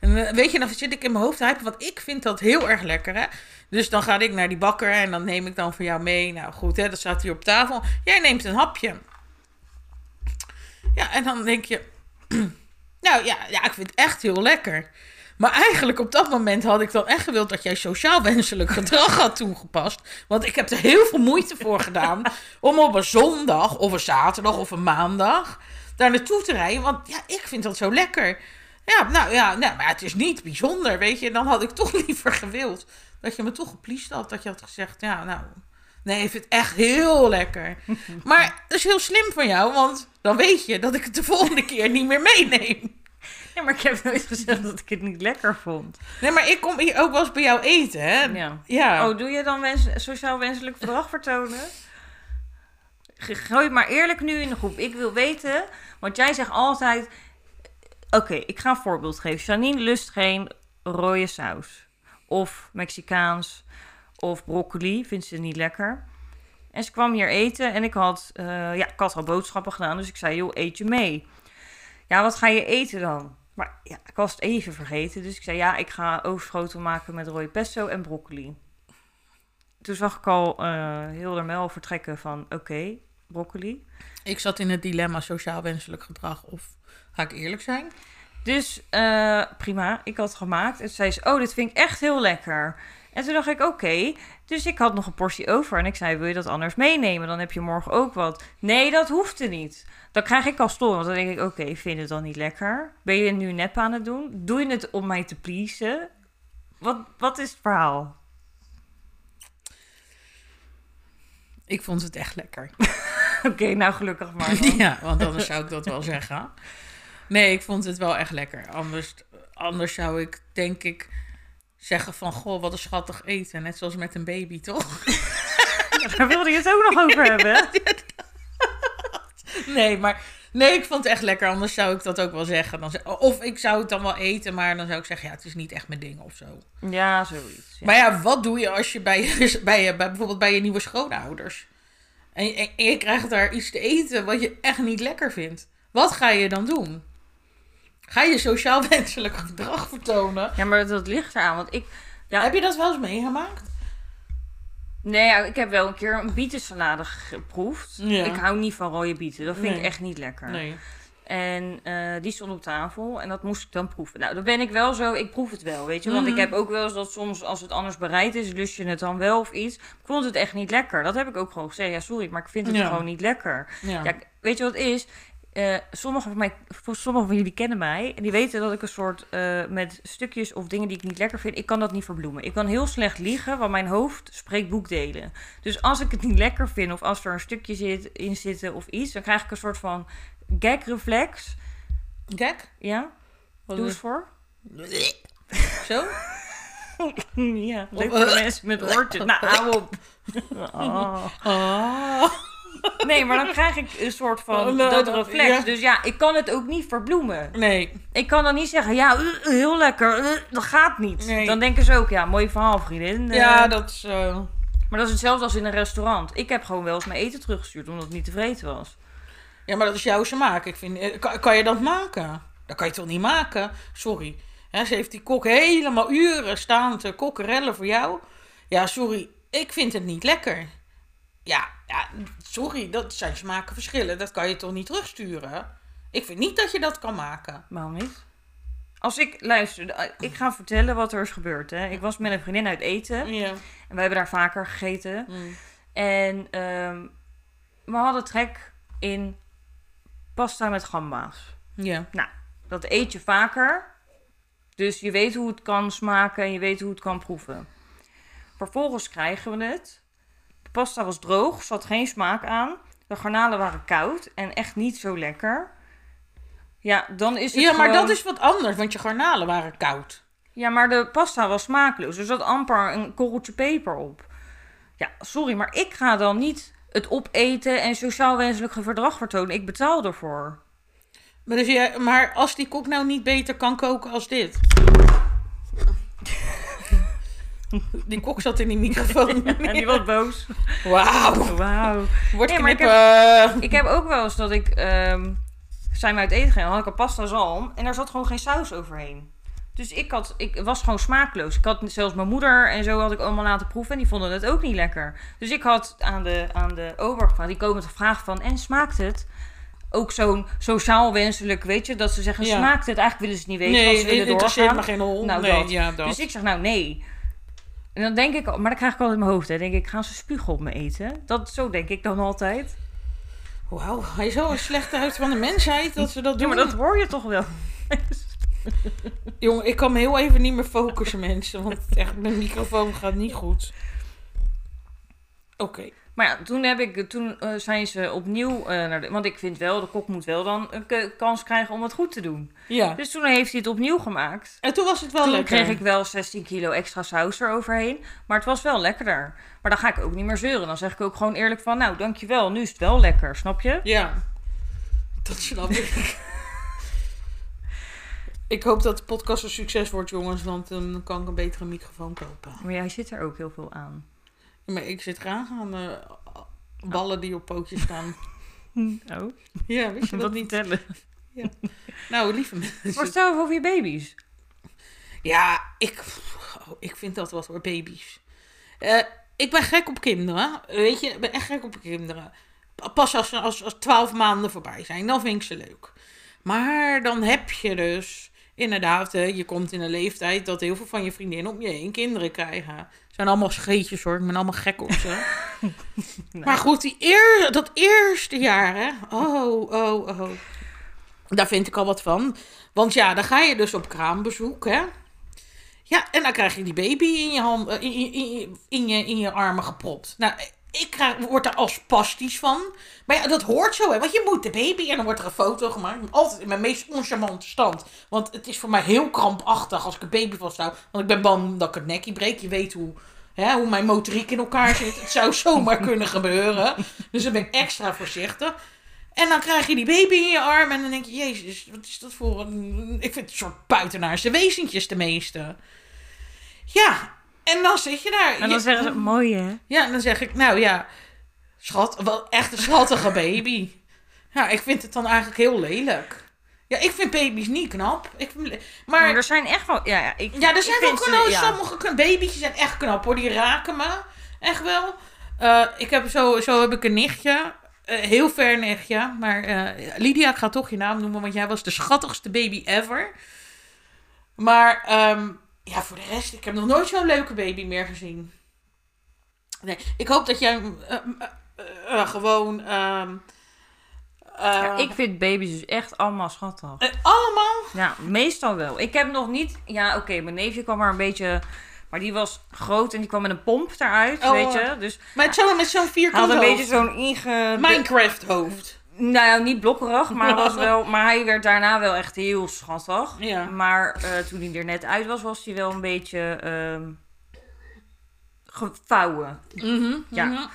[SPEAKER 1] En eh, weet je, dan zit ik in mijn hoofd te hypen, want ik vind dat heel erg lekker, hè. Dus dan ga ik naar die bakker en dan neem ik dan voor jou mee. Nou goed, hè, dat staat hier op tafel. Jij neemt een hapje. Ja, en dan denk je, nou ja, ja, ik vind het echt heel lekker. Maar eigenlijk op dat moment had ik dan echt gewild dat jij sociaal wenselijk gedrag had toegepast. Want ik heb er heel veel moeite voor gedaan om op een zondag of een zaterdag of een maandag daar naartoe te rijden. Want ja, ik vind dat zo lekker. Ja, nou ja, nou, maar het is niet bijzonder, weet je. Dan had ik toch liever gewild dat je me toch gepliest had. Dat je had gezegd, ja, nou, nee, ik vind het echt heel lekker. Maar dat is heel slim van jou, want dan weet je dat ik het de volgende keer niet meer meeneem.
[SPEAKER 2] Ja, maar ik heb nooit gezegd dat ik het niet lekker vond.
[SPEAKER 1] Nee, maar ik kom hier ook wel eens bij jou eten, hè? Ja.
[SPEAKER 2] Ja. Oh, doe je dan wens- sociaal wenselijk gedrag vertonen? Ge- Gooi maar eerlijk nu in de groep. Ik wil weten, want jij zegt altijd... eh, Oké, ik ga een voorbeeld geven. Janine lust geen rode saus. Of Mexicaans. Of broccoli. Vindt ze niet lekker. En ze kwam hier eten en ik had, eh, ja, ik had al boodschappen gedaan. Dus ik zei, joh, eet je mee? Ja, wat ga je eten dan? Maar ja, ik was het even vergeten. Dus ik zei, ja, ik ga oogschotel maken met rode pesto en broccoli. Toen zag ik al eh heel de mel vertrekken van, oké, broccoli.
[SPEAKER 1] Ik zat in het dilemma sociaal wenselijk gedrag of ga ik eerlijk zijn?
[SPEAKER 2] Dus eh, prima, ik had het gemaakt. En toen zei ze, oh, dit vind ik echt heel lekker. En toen dacht ik, oké. Dus ik had nog een portie over. En ik zei, wil je dat anders meenemen? Dan heb je morgen ook wat. Nee, dat hoeft er niet. Dan krijg ik al storen. Want dan denk ik, oké, vind je het dan niet lekker? Ben je nu nep aan het doen? Doe je het om mij te pleasen? Wat, wat is het verhaal?
[SPEAKER 1] Ik vond het echt lekker.
[SPEAKER 2] Oké, nou gelukkig maar. dan.
[SPEAKER 1] Ja, want anders zou ik dat wel zeggen. Nee, ik vond het wel echt lekker. Anders, anders zou ik denk ik zeggen van... Goh, wat een schattig eten. Net zoals met een baby, toch?
[SPEAKER 2] Daar wilde je het ook nog over hebben.
[SPEAKER 1] Nee, maar... Nee, ik vond het echt lekker. Anders zou ik dat ook wel zeggen. Dan, ze- of ik zou het dan wel eten, maar dan zou ik zeggen... Ja, het is niet echt mijn ding of zo.
[SPEAKER 2] Ja, zoiets. ja.
[SPEAKER 1] Maar ja, wat doe je als je bij, je- bij, je, bij bijvoorbeeld bij je nieuwe schoonouders... En je, en je krijgt daar iets te eten wat je echt niet lekker vindt. Wat ga je dan doen? Ga je sociaal wenselijk gedrag vertonen?
[SPEAKER 2] Ja, maar dat ligt eraan. Want ik, Ja.
[SPEAKER 1] Heb je dat wel eens meegemaakt?
[SPEAKER 2] Nee, ja, ik heb wel een keer een bietensalade geproefd.
[SPEAKER 1] Ja.
[SPEAKER 2] Ik hou niet van rode bieten. Dat vind
[SPEAKER 1] Nee.
[SPEAKER 2] ik echt niet lekker.
[SPEAKER 1] Nee.
[SPEAKER 2] En eh, die stond op tafel en dat moest ik dan proeven. Nou, dan ben ik wel zo, ik proef het wel, weet je. Want
[SPEAKER 1] Mhm.
[SPEAKER 2] ik heb ook wel eens dat soms, als het anders bereid is, lust je het dan wel of iets. Ik vond het echt niet lekker. Dat heb ik ook gewoon gezegd. Ja, sorry, maar ik vind het
[SPEAKER 1] Ja.
[SPEAKER 2] gewoon niet lekker.
[SPEAKER 1] Ja.
[SPEAKER 2] Ja, k- weet je wat het is? Eh sommigen, van mij, voor sommigen van jullie kennen mij. En die weten dat ik een soort eh, met stukjes of dingen die ik niet lekker vind. Ik kan dat niet verbloemen. Ik kan heel slecht liegen, want mijn hoofd spreekt boekdelen. Dus als ik het niet lekker vind, of als er een stukje zit, in zitten of iets, dan krijg ik een soort van gagreflex.
[SPEAKER 1] Gek?
[SPEAKER 2] Ja, doe eens voor.
[SPEAKER 1] Zo?
[SPEAKER 2] ja, leuk voor de mensen met oortjes. Nou, hou op. Oh.
[SPEAKER 1] Oh.
[SPEAKER 2] Nee, maar dan krijg ik een soort
[SPEAKER 1] Oh,
[SPEAKER 2] van
[SPEAKER 1] nou,
[SPEAKER 2] dat
[SPEAKER 1] dat-
[SPEAKER 2] reflex.
[SPEAKER 1] ja.
[SPEAKER 2] Dus ja, ik kan het ook niet verbloemen.
[SPEAKER 1] Nee.
[SPEAKER 2] Ik kan dan niet zeggen, ja, eh, eh, heel lekker, eh, dat gaat niet.
[SPEAKER 1] Nee.
[SPEAKER 2] Dan denken ze ook, ja, mooi verhaal, vriendin. Eh,
[SPEAKER 1] Ja, dat is... eh,
[SPEAKER 2] Maar dat is hetzelfde als in een restaurant. Ik heb gewoon wel eens mijn eten teruggestuurd, omdat het niet tevreden was.
[SPEAKER 1] Ja, maar dat is jouw smaak. Ik vind, eh, kan, kan je dat maken? Dat kan je toch niet maken? Sorry. Hè, ze heeft die kok helemaal uren staan te kokkerellen voor jou. Ja, sorry. Ik vind het niet lekker. Ja, ja, sorry. Dat zijn smakenverschillen. Dat kan je toch niet terugsturen? Ik vind niet dat je dat kan maken.
[SPEAKER 2] Waarom niet? Als ik, luister, eh, ik ga vertellen wat er is gebeurd. Hè. Ik was met een vriendin uit eten.
[SPEAKER 1] Ja.
[SPEAKER 2] En we hebben daar vaker gegeten.
[SPEAKER 1] Hm.
[SPEAKER 2] En ehm, we hadden trek in pasta met gamba's.
[SPEAKER 1] Ja.
[SPEAKER 2] Dat eet je vaker. Dus je weet hoe het kan smaken en je weet hoe het kan proeven. Vervolgens krijgen we het. De pasta was droog, zat geen smaak aan. De garnalen waren koud en echt niet zo lekker. Ja, dan is het
[SPEAKER 1] ja, maar
[SPEAKER 2] gewoon-
[SPEAKER 1] dat is wat anders. Want je garnalen waren koud.
[SPEAKER 2] Ja, maar de pasta was smakeloos. Er zat amper een korreltje peper op. Ja, sorry, maar ik ga dan niet het opeten en sociaal wenselijk gedrag vertonen. Ik betaal ervoor.
[SPEAKER 1] Maar, dus jij- maar als die kok nou niet beter kan koken als dit. Die kok zat in die microfoon.
[SPEAKER 2] En die was boos.
[SPEAKER 1] Wauw.
[SPEAKER 2] Wauw.
[SPEAKER 1] Wordt
[SPEAKER 2] Nee, maar ik
[SPEAKER 1] knippen.
[SPEAKER 2] heb- Ik heb ook wel eens dat ik... ehm, zijn we uit eten gegaan, had ik een pasta zalm en daar zat gewoon geen saus overheen. Dus ik, had, ik het was gewoon smaakloos. Ik had zelfs mijn moeder en zo had ik allemaal laten proeven en die vonden het ook niet lekker. Dus ik had aan de, aan de ober gevraagd, die komen met de vraag van, en smaakt het? Ook zo'n sociaal wenselijk, weet je, dat ze zeggen,
[SPEAKER 1] Ja.
[SPEAKER 2] smaakt het? Eigenlijk willen ze het niet weten, want
[SPEAKER 1] Nee,
[SPEAKER 2] ze
[SPEAKER 1] dit
[SPEAKER 2] willen
[SPEAKER 1] interesseert
[SPEAKER 2] doorgaan.
[SPEAKER 1] me geen hol.
[SPEAKER 2] Nou,
[SPEAKER 1] nee,
[SPEAKER 2] dat.
[SPEAKER 1] ja, dat.
[SPEAKER 2] Dus ik zeg nou nee. En dan denk ik, al- maar dan krijg ik altijd in mijn hoofd, hè. denk ik, gaan ze spugen op me eten? Dat, zo denk ik dan altijd.
[SPEAKER 1] Wauw, hij is zo een slechte huid van de mensheid dat ze dat
[SPEAKER 2] Ja,
[SPEAKER 1] doen.
[SPEAKER 2] maar dat hoor je toch wel.
[SPEAKER 1] Jongen, ik kan me heel even niet meer focussen, mensen. Want echt, mijn microfoon gaat niet goed. Oké.
[SPEAKER 2] Maar ja, toen, heb ik, toen eh, zijn ze opnieuw eh, naar de... Want ik vind wel, de kok moet wel dan een ke- kans krijgen om het goed te doen.
[SPEAKER 1] Ja.
[SPEAKER 2] Dus toen heeft hij het opnieuw gemaakt.
[SPEAKER 1] En toen was het wel
[SPEAKER 2] Toen
[SPEAKER 1] lekker.
[SPEAKER 2] kreeg ik wel 16 kilo extra saus eroverheen. Maar het was wel lekkerder. Maar dan ga ik ook niet meer zeuren. Dan zeg ik ook gewoon eerlijk van... Nou, dankjewel, nu is het wel lekker. Snap je?
[SPEAKER 1] Ja, dat snap ik. ik hoop dat de podcast een succes wordt, jongens, want dan kan ik een betere microfoon kopen.
[SPEAKER 2] Maar jij zit er ook heel veel aan.
[SPEAKER 1] Maar ik zit graag aan eh, ballen die op pootjes staan.
[SPEAKER 2] Oh,
[SPEAKER 1] Ja, wist je dat niet?
[SPEAKER 2] tellen.
[SPEAKER 1] Nou, lieve
[SPEAKER 2] Maar
[SPEAKER 1] mensen.
[SPEAKER 2] stel over je baby's.
[SPEAKER 1] Ja, ik, oh, ik vind dat wat hoor, baby's. Eh, ik ben gek op kinderen, weet je, ik ben echt gek op kinderen. Pa- Pas als ze als, als 12 maanden voorbij zijn, dan vind ik ze leuk. Maar dan heb je dus inderdaad, hè, je komt in een leeftijd dat heel veel van je vriendinnen om je heen kinderen krijgen. Zijn allemaal scheetjes hoor, ik ben allemaal gek op ze. Maar goed, die eer, dat eerste jaar, hè? Oh, oh, oh. Daar vind ik al wat van. Want ja, dan ga je dus op kraambezoek, hè? Ja, en dan krijg je die baby in je, hand, eh, in, in, in, in je, in je armen gepropt. Nou, ik krijg, word er als pastisch van. Maar ja, dat hoort zo, hè? Want je moet de baby en dan wordt er een foto gemaakt. Altijd in mijn meest oncharmante stand. Want het is voor mij heel krampachtig als ik een baby vasthoud. Want ik ben bang dat ik het nekje breek. Je weet hoe, hè, hoe mijn motoriek in elkaar zit. Het zou zomaar kunnen gebeuren. Dus dan ben ik extra voorzichtig. En dan krijg je die baby in je arm en dan denk je, jezus, wat is dat voor een... Ik vind het een soort buitenaarse wezentjes de meeste. Ja, en dan zit je daar.
[SPEAKER 2] En
[SPEAKER 1] Je-
[SPEAKER 2] dan zeggen ze, mooi hè?
[SPEAKER 1] ja, en dan zeg ik, nou ja, schat, wel echt een schattige baby. Ja, ik vind het dan eigenlijk heel lelijk. Ja, ik vind baby's niet knap. Ik vind, le-
[SPEAKER 2] Maar
[SPEAKER 1] maar
[SPEAKER 2] er zijn echt wel... Ja, ja, ik,
[SPEAKER 1] ja, er
[SPEAKER 2] ik
[SPEAKER 1] zijn wel
[SPEAKER 2] vind
[SPEAKER 1] knap,
[SPEAKER 2] ze- ja.
[SPEAKER 1] sommige kn- baby'tjes zijn echt knap hoor. Die raken me, echt wel. Eh, ik heb zo, zo heb ik een nichtje, Eh, heel ver nichtje. Maar eh, Lydia, ik ga toch je naam noemen, want jij was de schattigste baby ever. Maar ehm, ja, voor de rest, ik heb nog nooit zo'n leuke baby meer gezien. Nee, ik hoop dat jij eh, eh, eh, eh, gewoon. ehm,
[SPEAKER 2] Ja,
[SPEAKER 1] eh,
[SPEAKER 2] ik vind baby's dus echt allemaal schattig.
[SPEAKER 1] eh, allemaal.
[SPEAKER 2] Ja, meestal wel. Ik heb nog niet... Ja, oké, mijn neefje kwam maar een beetje... Maar die was groot en die kwam met een pomp eruit,
[SPEAKER 1] Oh,
[SPEAKER 2] weet je. Dus
[SPEAKER 1] Met zo'n met zo'n
[SPEAKER 2] hij
[SPEAKER 1] vierkant
[SPEAKER 2] had een
[SPEAKER 1] hoofd.
[SPEAKER 2] beetje zo'n inge...
[SPEAKER 1] Minecraft hoofd.
[SPEAKER 2] Nou ja, niet blokkerig, maar, was wel, maar hij werd daarna wel echt heel schattig.
[SPEAKER 1] Ja.
[SPEAKER 2] Maar eh, toen hij er net uit was, was hij wel een beetje ehm, gevouwen. Ja.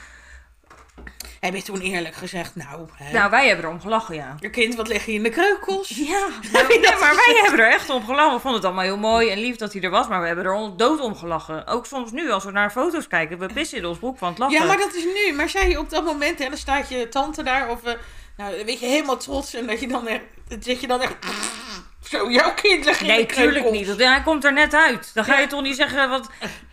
[SPEAKER 1] Heb je toen eerlijk gezegd, nou, hè,
[SPEAKER 2] Nou, wij hebben erom gelachen, ja.
[SPEAKER 1] je kind, wat leg je in de kreukels?
[SPEAKER 2] Nou, Ja,
[SPEAKER 1] Heb je dat
[SPEAKER 2] maar wij
[SPEAKER 1] gezien?
[SPEAKER 2] hebben er echt om gelachen. We vonden het allemaal heel mooi en lief dat hij er was, maar we hebben er on- dood om gelachen. Ook soms nu, als we naar foto's kijken, we pissen in ons broek van het lachen.
[SPEAKER 1] Ja, maar dat is nu. Maar zij op dat moment, en dan staat je tante daar, of eh, nou, weet je, helemaal trots. En dat je dan echt, dat je dan echt, zo, jouw kind leg je in
[SPEAKER 2] Nee,
[SPEAKER 1] de kreukels.
[SPEAKER 2] tuurlijk niet. Want hij komt er net uit. Dan ga je toch niet zeggen, wat...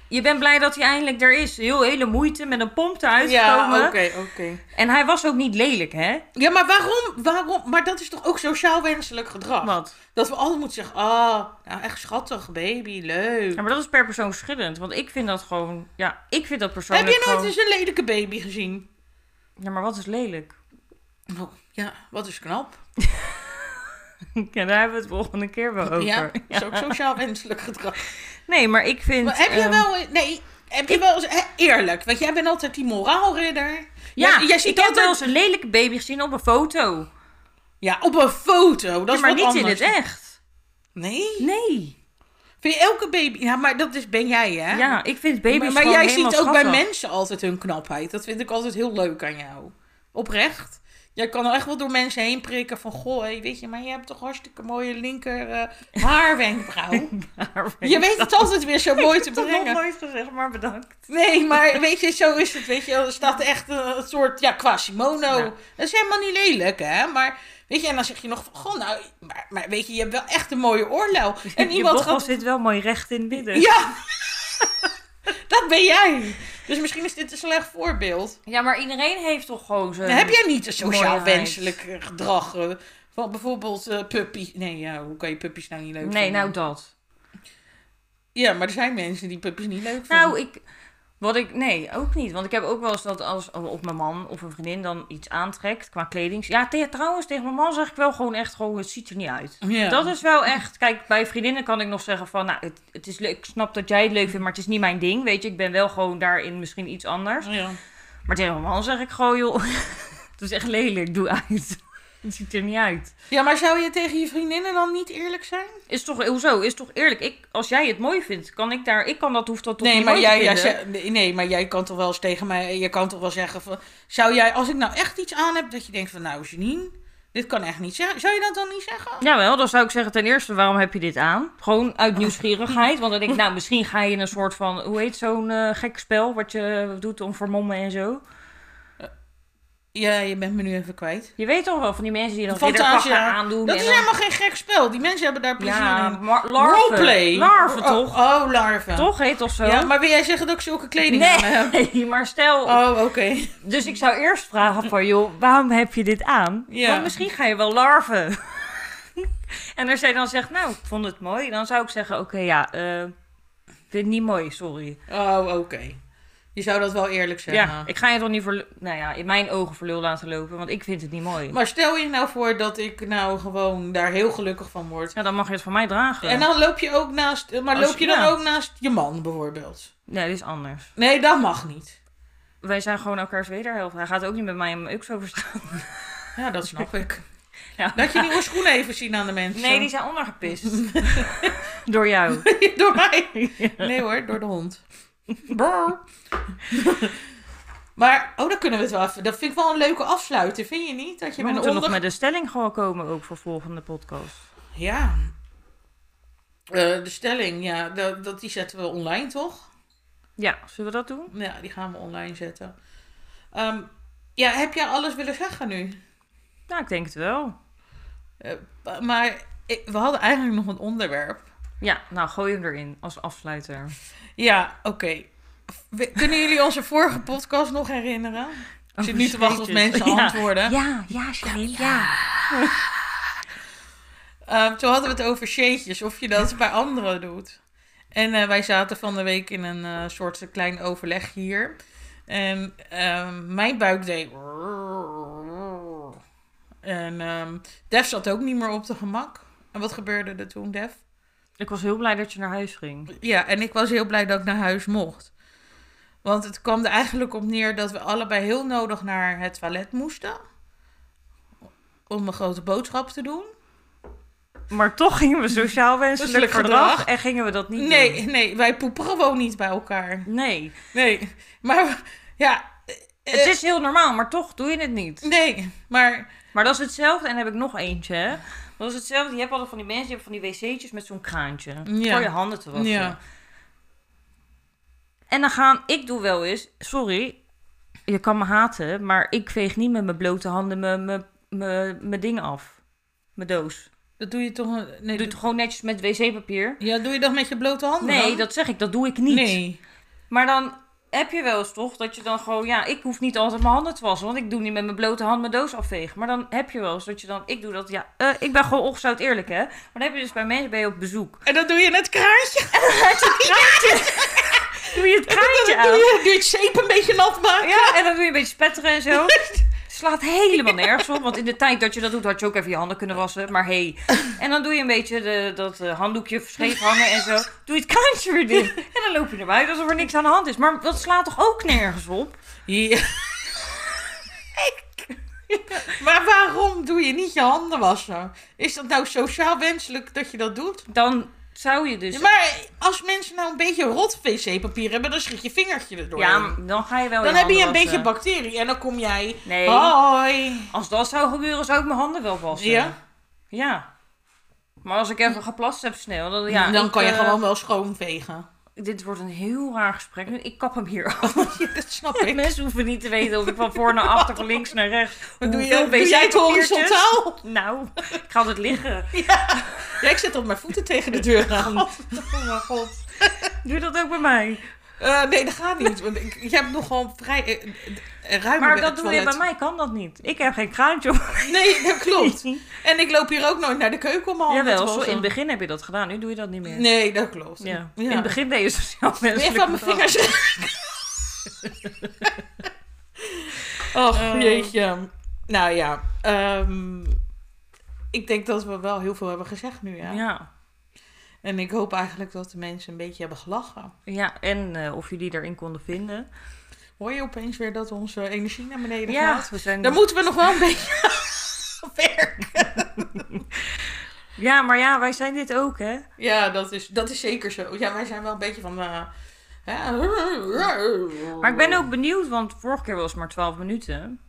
[SPEAKER 2] je bent blij dat hij eindelijk er is. Heel hele moeite met een pomp eruit
[SPEAKER 1] Ja,
[SPEAKER 2] gekomen.
[SPEAKER 1] oké, oké.
[SPEAKER 2] En hij was ook niet lelijk, hè?
[SPEAKER 1] Ja, maar waarom, waarom, maar dat is toch ook sociaal wenselijk gedrag?
[SPEAKER 2] Wat?
[SPEAKER 1] Dat we altijd moeten zeggen, ah, nou, echt schattig, baby, leuk.
[SPEAKER 2] Ja, maar dat is per persoon verschillend. Want ik vind dat gewoon... Ja, ik vind dat
[SPEAKER 1] Heb
[SPEAKER 2] persoonlijk
[SPEAKER 1] je nooit
[SPEAKER 2] gewoon...
[SPEAKER 1] eens een lelijke baby gezien?
[SPEAKER 2] Ja, maar wat is lelijk?
[SPEAKER 1] Oh, ja, wat is knap.
[SPEAKER 2] Ja, daar hebben we het volgende keer wel over.
[SPEAKER 1] Ja, is ook sociaal wenselijk gedrag.
[SPEAKER 2] Nee, maar ik vind...
[SPEAKER 1] Maar heb je
[SPEAKER 2] ehm,
[SPEAKER 1] wel... Nee, heb je wel... eens- hè, Eerlijk, want jij bent altijd die moraalridder.
[SPEAKER 2] Ja,
[SPEAKER 1] jij, jij ziet
[SPEAKER 2] ik heb
[SPEAKER 1] altijd...
[SPEAKER 2] wel eens een lelijke baby gezien op een foto.
[SPEAKER 1] Ja, op een foto. Dat
[SPEAKER 2] Ja,
[SPEAKER 1] is
[SPEAKER 2] maar
[SPEAKER 1] wat
[SPEAKER 2] niet in
[SPEAKER 1] anders.
[SPEAKER 2] het echt.
[SPEAKER 1] Nee?
[SPEAKER 2] Nee.
[SPEAKER 1] Vind je elke baby... Ja, maar dat is, ben jij, hè?
[SPEAKER 2] Ja, ik vind baby's
[SPEAKER 1] maar, maar
[SPEAKER 2] gewoon
[SPEAKER 1] jij ziet
[SPEAKER 2] helemaal
[SPEAKER 1] ook bij
[SPEAKER 2] schattig.
[SPEAKER 1] mensen altijd hun knapheid. Dat vind ik altijd heel leuk aan jou. Oprecht. Jij kan er echt wel door mensen heen prikken van... Goh, hé, weet je, maar je hebt toch hartstikke mooie linker eh, haarwenkbrauw. je weet het altijd weer zo mooi te
[SPEAKER 2] Ik heb het nog
[SPEAKER 1] brengen.
[SPEAKER 2] nooit gezegd, maar bedankt.
[SPEAKER 1] Nee, maar weet je, zo is het. Weet je, er staat echt een, soort, ja, Quasimodo.
[SPEAKER 2] Ja.
[SPEAKER 1] Dat is helemaal niet lelijk, hè? Maar weet je, en dan zeg je nog van, goh, nou, maar, maar weet je, je hebt wel echt een mooie oorlel. En
[SPEAKER 2] je
[SPEAKER 1] iemand
[SPEAKER 2] bochel
[SPEAKER 1] gaat,
[SPEAKER 2] zit wel mooi recht in het midden.
[SPEAKER 1] ja, dat ben jij. Dus misschien is dit een slecht voorbeeld.
[SPEAKER 2] Ja, maar iedereen heeft toch gewoon zijn...
[SPEAKER 1] Dan heb jij niet een sociaal
[SPEAKER 2] mooierheid.
[SPEAKER 1] wenselijk eh, gedrag? eh, van bijvoorbeeld eh puppy. Nee, ja, hoe kan je puppies nou niet leuk
[SPEAKER 2] Nee,
[SPEAKER 1] vinden?
[SPEAKER 2] nou dat.
[SPEAKER 1] Ja, maar er zijn mensen die puppies niet leuk vinden.
[SPEAKER 2] Nou, ik... Wat ik... Nee, ook niet. Want ik heb ook wel eens dat als op mijn man of een vriendin dan iets aantrekt qua kleding. Ja, te- trouwens, tegen mijn man zeg ik wel gewoon echt gewoon, het ziet er niet uit.
[SPEAKER 1] ja.
[SPEAKER 2] Dat is wel echt... Kijk, bij vriendinnen kan ik nog zeggen van, nou, het, het is leuk. Ik snap dat jij het leuk vindt, maar het is niet mijn ding. Weet je, ik ben wel gewoon daarin misschien iets anders.
[SPEAKER 1] Ja.
[SPEAKER 2] Maar tegen mijn man zeg ik gewoon, joh, het is echt lelijk. Doe uit. Het ziet er niet uit.
[SPEAKER 1] ja, maar zou je tegen je vriendinnen dan niet eerlijk zijn?
[SPEAKER 2] Is toch, hoezo? Is toch eerlijk? Ik, als jij het mooi vindt, kan ik daar, ik kan dat, hoef dat toch
[SPEAKER 1] Nee
[SPEAKER 2] niet
[SPEAKER 1] maar,
[SPEAKER 2] mooi te
[SPEAKER 1] jij, jij
[SPEAKER 2] vinden?
[SPEAKER 1] ze- nee, nee, maar jij kan toch wel eens tegen mij... Je kan toch wel zeggen van... Zou jij, als ik nou echt iets aan heb dat je denkt van... Nou, Janine, dit kan echt niet zeggen. Zou je dat dan niet zeggen?
[SPEAKER 2] Jawel, dan zou ik zeggen ten eerste, waarom heb je dit aan? Gewoon uit nieuwsgierigheid. Want dan denk ik, nou, misschien ga je in een soort van, hoe heet zo'n eh, gek spel wat je doet om vermommen en zo.
[SPEAKER 1] Ja, je bent me nu even kwijt.
[SPEAKER 2] Je weet toch wel van die mensen die dan
[SPEAKER 1] Fantasia.
[SPEAKER 2] ridderpak gaan aandoen.
[SPEAKER 1] Dat
[SPEAKER 2] en
[SPEAKER 1] is
[SPEAKER 2] dan-
[SPEAKER 1] helemaal geen gek spel. Die mensen hebben daar plezier
[SPEAKER 2] Ja,
[SPEAKER 1] in.
[SPEAKER 2] maar larven.
[SPEAKER 1] Roleplay.
[SPEAKER 2] Larven toch?
[SPEAKER 1] Oh, oh, larven.
[SPEAKER 2] Toch heet toch zo?
[SPEAKER 1] Ja, maar wil jij zeggen dat ik zulke kleding aan heb?
[SPEAKER 2] nee, maar stel...
[SPEAKER 1] Oh, oké.
[SPEAKER 2] Dus ik zou eerst vragen van, joh, waarom heb je dit aan?
[SPEAKER 1] Ja.
[SPEAKER 2] Want misschien ga je wel larven. en als jij dan zegt, nou, ik vond het mooi. Dan zou ik zeggen, oké, ja, eh, ik vind het niet mooi, sorry.
[SPEAKER 1] Oh, oké. Je zou dat wel eerlijk
[SPEAKER 2] Ja,
[SPEAKER 1] zeggen.
[SPEAKER 2] ik ga je toch niet voor, nou ja, in mijn ogen voor lul laten lopen. Want ik vind het niet mooi.
[SPEAKER 1] Maar stel je nou voor dat ik nou gewoon daar heel gelukkig van word.
[SPEAKER 2] Ja, dan mag je het van mij dragen.
[SPEAKER 1] En dan loop je ook naast... eh, Maar
[SPEAKER 2] Als-
[SPEAKER 1] loop je dan
[SPEAKER 2] ja.
[SPEAKER 1] ook naast je man bijvoorbeeld?
[SPEAKER 2] Nee, dit is anders.
[SPEAKER 1] Nee, dat mag niet.
[SPEAKER 2] Wij zijn gewoon elkaars wederhelft. Hij gaat ook niet met mij om uks over straat.
[SPEAKER 1] Ja, dat snap ik.
[SPEAKER 2] Ja.
[SPEAKER 1] Dat je nieuwe schoenen even zien aan de mensen.
[SPEAKER 2] Nee, die zijn ondergepist. Door jou.
[SPEAKER 1] door mij. Nee hoor, door de hond. Brrr. maar, oh, dan kunnen we het wel even. Dat vind ik wel een leuke afsluiter, vind je niet? Dat je
[SPEAKER 2] We
[SPEAKER 1] met een
[SPEAKER 2] moeten nog
[SPEAKER 1] onder-
[SPEAKER 2] met de stelling gewoon komen ook voor volgende podcast.
[SPEAKER 1] Ja. Eh, de stelling, ja, dat, dat, die zetten we online, toch?
[SPEAKER 2] Ja, zullen we dat doen?
[SPEAKER 1] Ja, die gaan we online zetten. Ehm, ja, heb jij alles willen zeggen nu?
[SPEAKER 2] Nou, ik denk het wel.
[SPEAKER 1] Eh, maar ik- we hadden eigenlijk nog een onderwerp.
[SPEAKER 2] Ja, nou gooi hem erin als afsluiter.
[SPEAKER 1] Ja, oké. We- Kunnen jullie onze vorige podcast nog herinneren? Ik zit nu te wachten op
[SPEAKER 2] Jezus.
[SPEAKER 1] mensen
[SPEAKER 2] Ja.
[SPEAKER 1] antwoorden.
[SPEAKER 2] Ja, ja, Janine, ja.
[SPEAKER 1] Ehm, toen hadden we het over shadjes, of je dat bij anderen doet. En eh, wij zaten van de week in een eh, soort klein overleg hier. En ehm, mijn buik deed. En ehm, Def zat ook niet meer op de gemak. En wat gebeurde er toen, Def?
[SPEAKER 2] Ik was heel blij dat je naar huis ging.
[SPEAKER 1] Ja, en ik was heel blij dat ik naar huis mocht. Want het kwam er eigenlijk op neer dat we allebei heel nodig naar het toilet moesten. Om een grote boodschap te doen.
[SPEAKER 2] Maar toch gingen we sociaal wenselijk
[SPEAKER 1] Wenselijk
[SPEAKER 2] verdrag,
[SPEAKER 1] verdrag.
[SPEAKER 2] en gingen we dat niet
[SPEAKER 1] Nee, nee, wij poepen gewoon niet bij elkaar.
[SPEAKER 2] doen. Nee.
[SPEAKER 1] Nee, maar ja. eh,
[SPEAKER 2] Het is heel normaal, maar toch doe je het niet.
[SPEAKER 1] Nee, maar
[SPEAKER 2] Maar dat is hetzelfde, en dan heb ik nog eentje. hè. Dat is hetzelfde, je hebt altijd van die mensen, die hebben van die wc'tjes met zo'n kraantje.
[SPEAKER 1] Ja.
[SPEAKER 2] Voor je handen te wassen.
[SPEAKER 1] ja.
[SPEAKER 2] En dan gaan, ik doe wel eens, sorry, je kan me haten, maar ik veeg niet met mijn blote handen mijn- mijn- mijn mijn ding af. Mijn doos.
[SPEAKER 1] Dat doe je toch. een- Nee,
[SPEAKER 2] Ik doe
[SPEAKER 1] doe,
[SPEAKER 2] het gewoon netjes met wc-papier.
[SPEAKER 1] ja, doe je dat met je blote handen?
[SPEAKER 2] Nee,
[SPEAKER 1] Oh, dan?
[SPEAKER 2] dat zeg ik, dat doe ik niet.
[SPEAKER 1] Nee.
[SPEAKER 2] Maar dan heb je wel eens toch dat je dan gewoon, ja, ik hoef niet altijd mijn handen te wassen, want ik doe niet met mijn blote hand mijn doos afvegen. Maar dan heb je wel eens dat je dan, ik doe dat, ja, eh, ik ben gewoon ongezout eerlijk, hè. Maar dan heb je dus bij mensen, ben je op bezoek.
[SPEAKER 1] En dan doe je het kraantje.
[SPEAKER 2] Doe je het kraantje oh,
[SPEAKER 1] Dan doe
[SPEAKER 2] aan.
[SPEAKER 1] je, doe je het zeep een beetje nat maken.
[SPEAKER 2] Ja, en dan doe je een beetje spetteren en zo. Slaat helemaal nergens op, want in de tijd dat je dat doet, had je ook even je handen kunnen wassen. Maar hey. En dan doe je een beetje de, dat eh, handdoekje scheef hangen en zo. Doe je het kraantje weer dicht. En dan loop je naar buiten alsof er niks aan de hand is. Maar dat slaat toch ook nergens op?
[SPEAKER 1] Ja. maar waarom doe je niet je handen wassen? Is dat nou sociaal wenselijk dat je dat doet?
[SPEAKER 2] Dan zou je dus...
[SPEAKER 1] Ja, maar als mensen nou een beetje rot wc-papier hebben, dan schiet je vingertje erdoor.
[SPEAKER 2] Ja, maar dan ga je wel
[SPEAKER 1] dan heb je een
[SPEAKER 2] handen
[SPEAKER 1] beetje Oh.
[SPEAKER 2] wassen.
[SPEAKER 1] bacterie en dan kom jij.
[SPEAKER 2] eh. Nee.
[SPEAKER 1] Hoi.
[SPEAKER 2] Als dat zou gebeuren, zou ik mijn handen wel wassen.
[SPEAKER 1] Ja?
[SPEAKER 2] Ja. Maar als ik even geplast heb snel, dan, ja,
[SPEAKER 1] dan
[SPEAKER 2] ik,
[SPEAKER 1] kan je
[SPEAKER 2] eh,
[SPEAKER 1] gewoon wel schoonvegen.
[SPEAKER 2] Dit wordt een heel raar gesprek. Ik kap hem hier af.
[SPEAKER 1] Ja, dat snap ik.
[SPEAKER 2] Mensen hoeven niet te weten of ik van voor naar achter, van links naar rechts.
[SPEAKER 1] Wat doe, je,
[SPEAKER 2] hoeveel
[SPEAKER 1] doe jij het
[SPEAKER 2] wc-papiertjes?
[SPEAKER 1] horizontaal?
[SPEAKER 2] Nou, ik ga altijd liggen.
[SPEAKER 1] Ja, ik zet op mijn voeten tegen de deur aan.
[SPEAKER 2] Oh mijn god. Doe je dat ook bij mij?
[SPEAKER 1] Eh, nee, dat gaat niet. Want ik, je hebt nogal vrij eh, eh, ruim
[SPEAKER 2] Maar
[SPEAKER 1] eh,
[SPEAKER 2] dat doe je
[SPEAKER 1] toilet.
[SPEAKER 2] bij mij, kan dat niet. Ik heb geen kraantje op.
[SPEAKER 1] Nee, dat klopt. En ik loop hier ook nooit naar de keuken om mijn handen
[SPEAKER 2] Jawel,
[SPEAKER 1] te
[SPEAKER 2] zo in
[SPEAKER 1] wassen.
[SPEAKER 2] het begin heb je dat gedaan. Nu doe je dat niet meer.
[SPEAKER 1] Nee, dat klopt.
[SPEAKER 2] Ja. In het begin deed je sociaal menselijk
[SPEAKER 1] Even aan mijn
[SPEAKER 2] gedrag.
[SPEAKER 1] vingers. Och,
[SPEAKER 2] Eh.
[SPEAKER 1] Oh, jeetje. Nou ja, ehm, ik denk dat we wel heel veel hebben gezegd nu. Ja.
[SPEAKER 2] Ja.
[SPEAKER 1] En ik hoop eigenlijk dat de mensen een beetje hebben gelachen.
[SPEAKER 2] Ja, en eh, of jullie erin konden vinden.
[SPEAKER 1] Hoor je opeens weer dat onze energie naar beneden
[SPEAKER 2] Ja,
[SPEAKER 1] gaat?
[SPEAKER 2] we zijn
[SPEAKER 1] Daar moeten we nog wel een beetje aan werken.
[SPEAKER 2] ja, maar ja, wij zijn dit ook, hè?
[SPEAKER 1] Ja, dat is, dat is zeker zo. Ja, wij zijn wel een beetje van... eh, hè?
[SPEAKER 2] Maar ik ben ook benieuwd, want vorige keer was het maar 12 minuten.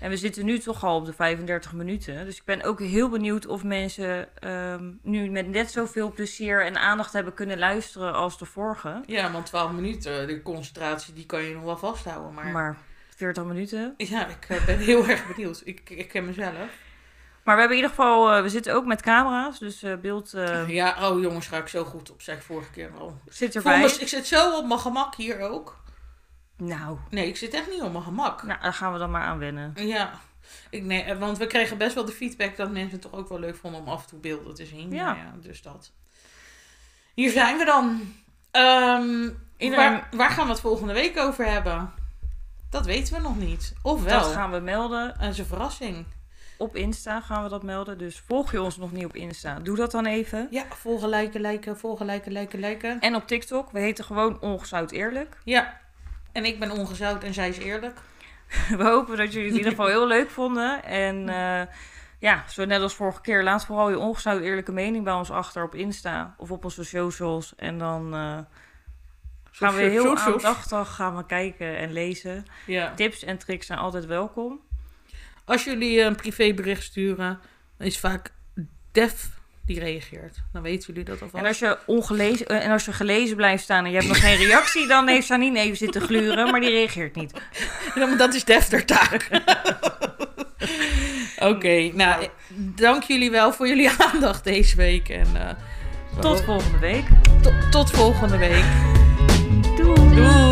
[SPEAKER 2] En we zitten nu toch al op de 35 minuten. Dus ik ben ook heel benieuwd of mensen ehm, nu met net zoveel plezier en aandacht hebben kunnen luisteren als de vorige.
[SPEAKER 1] Ja, want 12 minuten, de concentratie, die kan je nog wel vasthouden. Maar,
[SPEAKER 2] Maar 40 minuten.
[SPEAKER 1] Ja, ik eh, ben heel erg benieuwd. Ik, ik ken mezelf.
[SPEAKER 2] Maar we hebben in ieder geval, eh, we zitten ook met camera's, dus eh, beeld eh,
[SPEAKER 1] ja, oh jongens, ga ik zo goed op, zei ik vorige keer al.
[SPEAKER 2] zit
[SPEAKER 1] Ik voel me-
[SPEAKER 2] erbij.
[SPEAKER 1] ik zit zo op mijn gemak hier ook.
[SPEAKER 2] Nou,
[SPEAKER 1] Nee, ik zit echt niet op mijn gemak.
[SPEAKER 2] nou, daar gaan we dan maar aan wennen.
[SPEAKER 1] Ja. Ik, nee, eh, want we kregen best wel de feedback dat mensen het toch ook wel leuk vonden om af en toe beelden te zien.
[SPEAKER 2] Ja.
[SPEAKER 1] Nou ja dus dat. Hier zijn we dan. Ehm,
[SPEAKER 2] Iedereen-
[SPEAKER 1] waar, waar gaan we het volgende week over hebben? Dat weten we nog niet. Of wel.
[SPEAKER 2] Dat gaan we melden.
[SPEAKER 1] Dat is een verrassing.
[SPEAKER 2] Op Insta gaan we dat melden, dus volg je ons nog niet op Insta. Doe dat dan even.
[SPEAKER 1] Ja, volgen, liken, liken, volgen, liken, liken, liken.
[SPEAKER 2] En op TikTok, we heten gewoon Ongezout Eerlijk.
[SPEAKER 1] Ja. En ik ben ongezout en zij is eerlijk.
[SPEAKER 2] We hopen dat jullie het in ieder geval heel leuk vonden. En eh, ja, zo net als vorige keer, laat vooral je ongezout eerlijke mening bij ons achter op Insta of op onze socials. En dan eh, gaan we heel aandachtig gaan we kijken en lezen.
[SPEAKER 1] Ja.
[SPEAKER 2] Tips en tricks zijn altijd welkom.
[SPEAKER 1] Als jullie een privébericht sturen, dan is vaak Def die reageert. Dan weten jullie dat alvast.
[SPEAKER 2] En als je ongelezen eh, en als je gelezen blijft staan en je hebt nog geen reactie, dan heeft Janine even zitten gluren, maar die reageert niet.
[SPEAKER 1] Ja, maar dat is Def der taak. Oké, nou, eh, dank jullie wel voor jullie aandacht deze week. En, eh,
[SPEAKER 2] Tot volgende week.
[SPEAKER 1] tot- tot volgende week.
[SPEAKER 2] Doei.
[SPEAKER 1] Doei!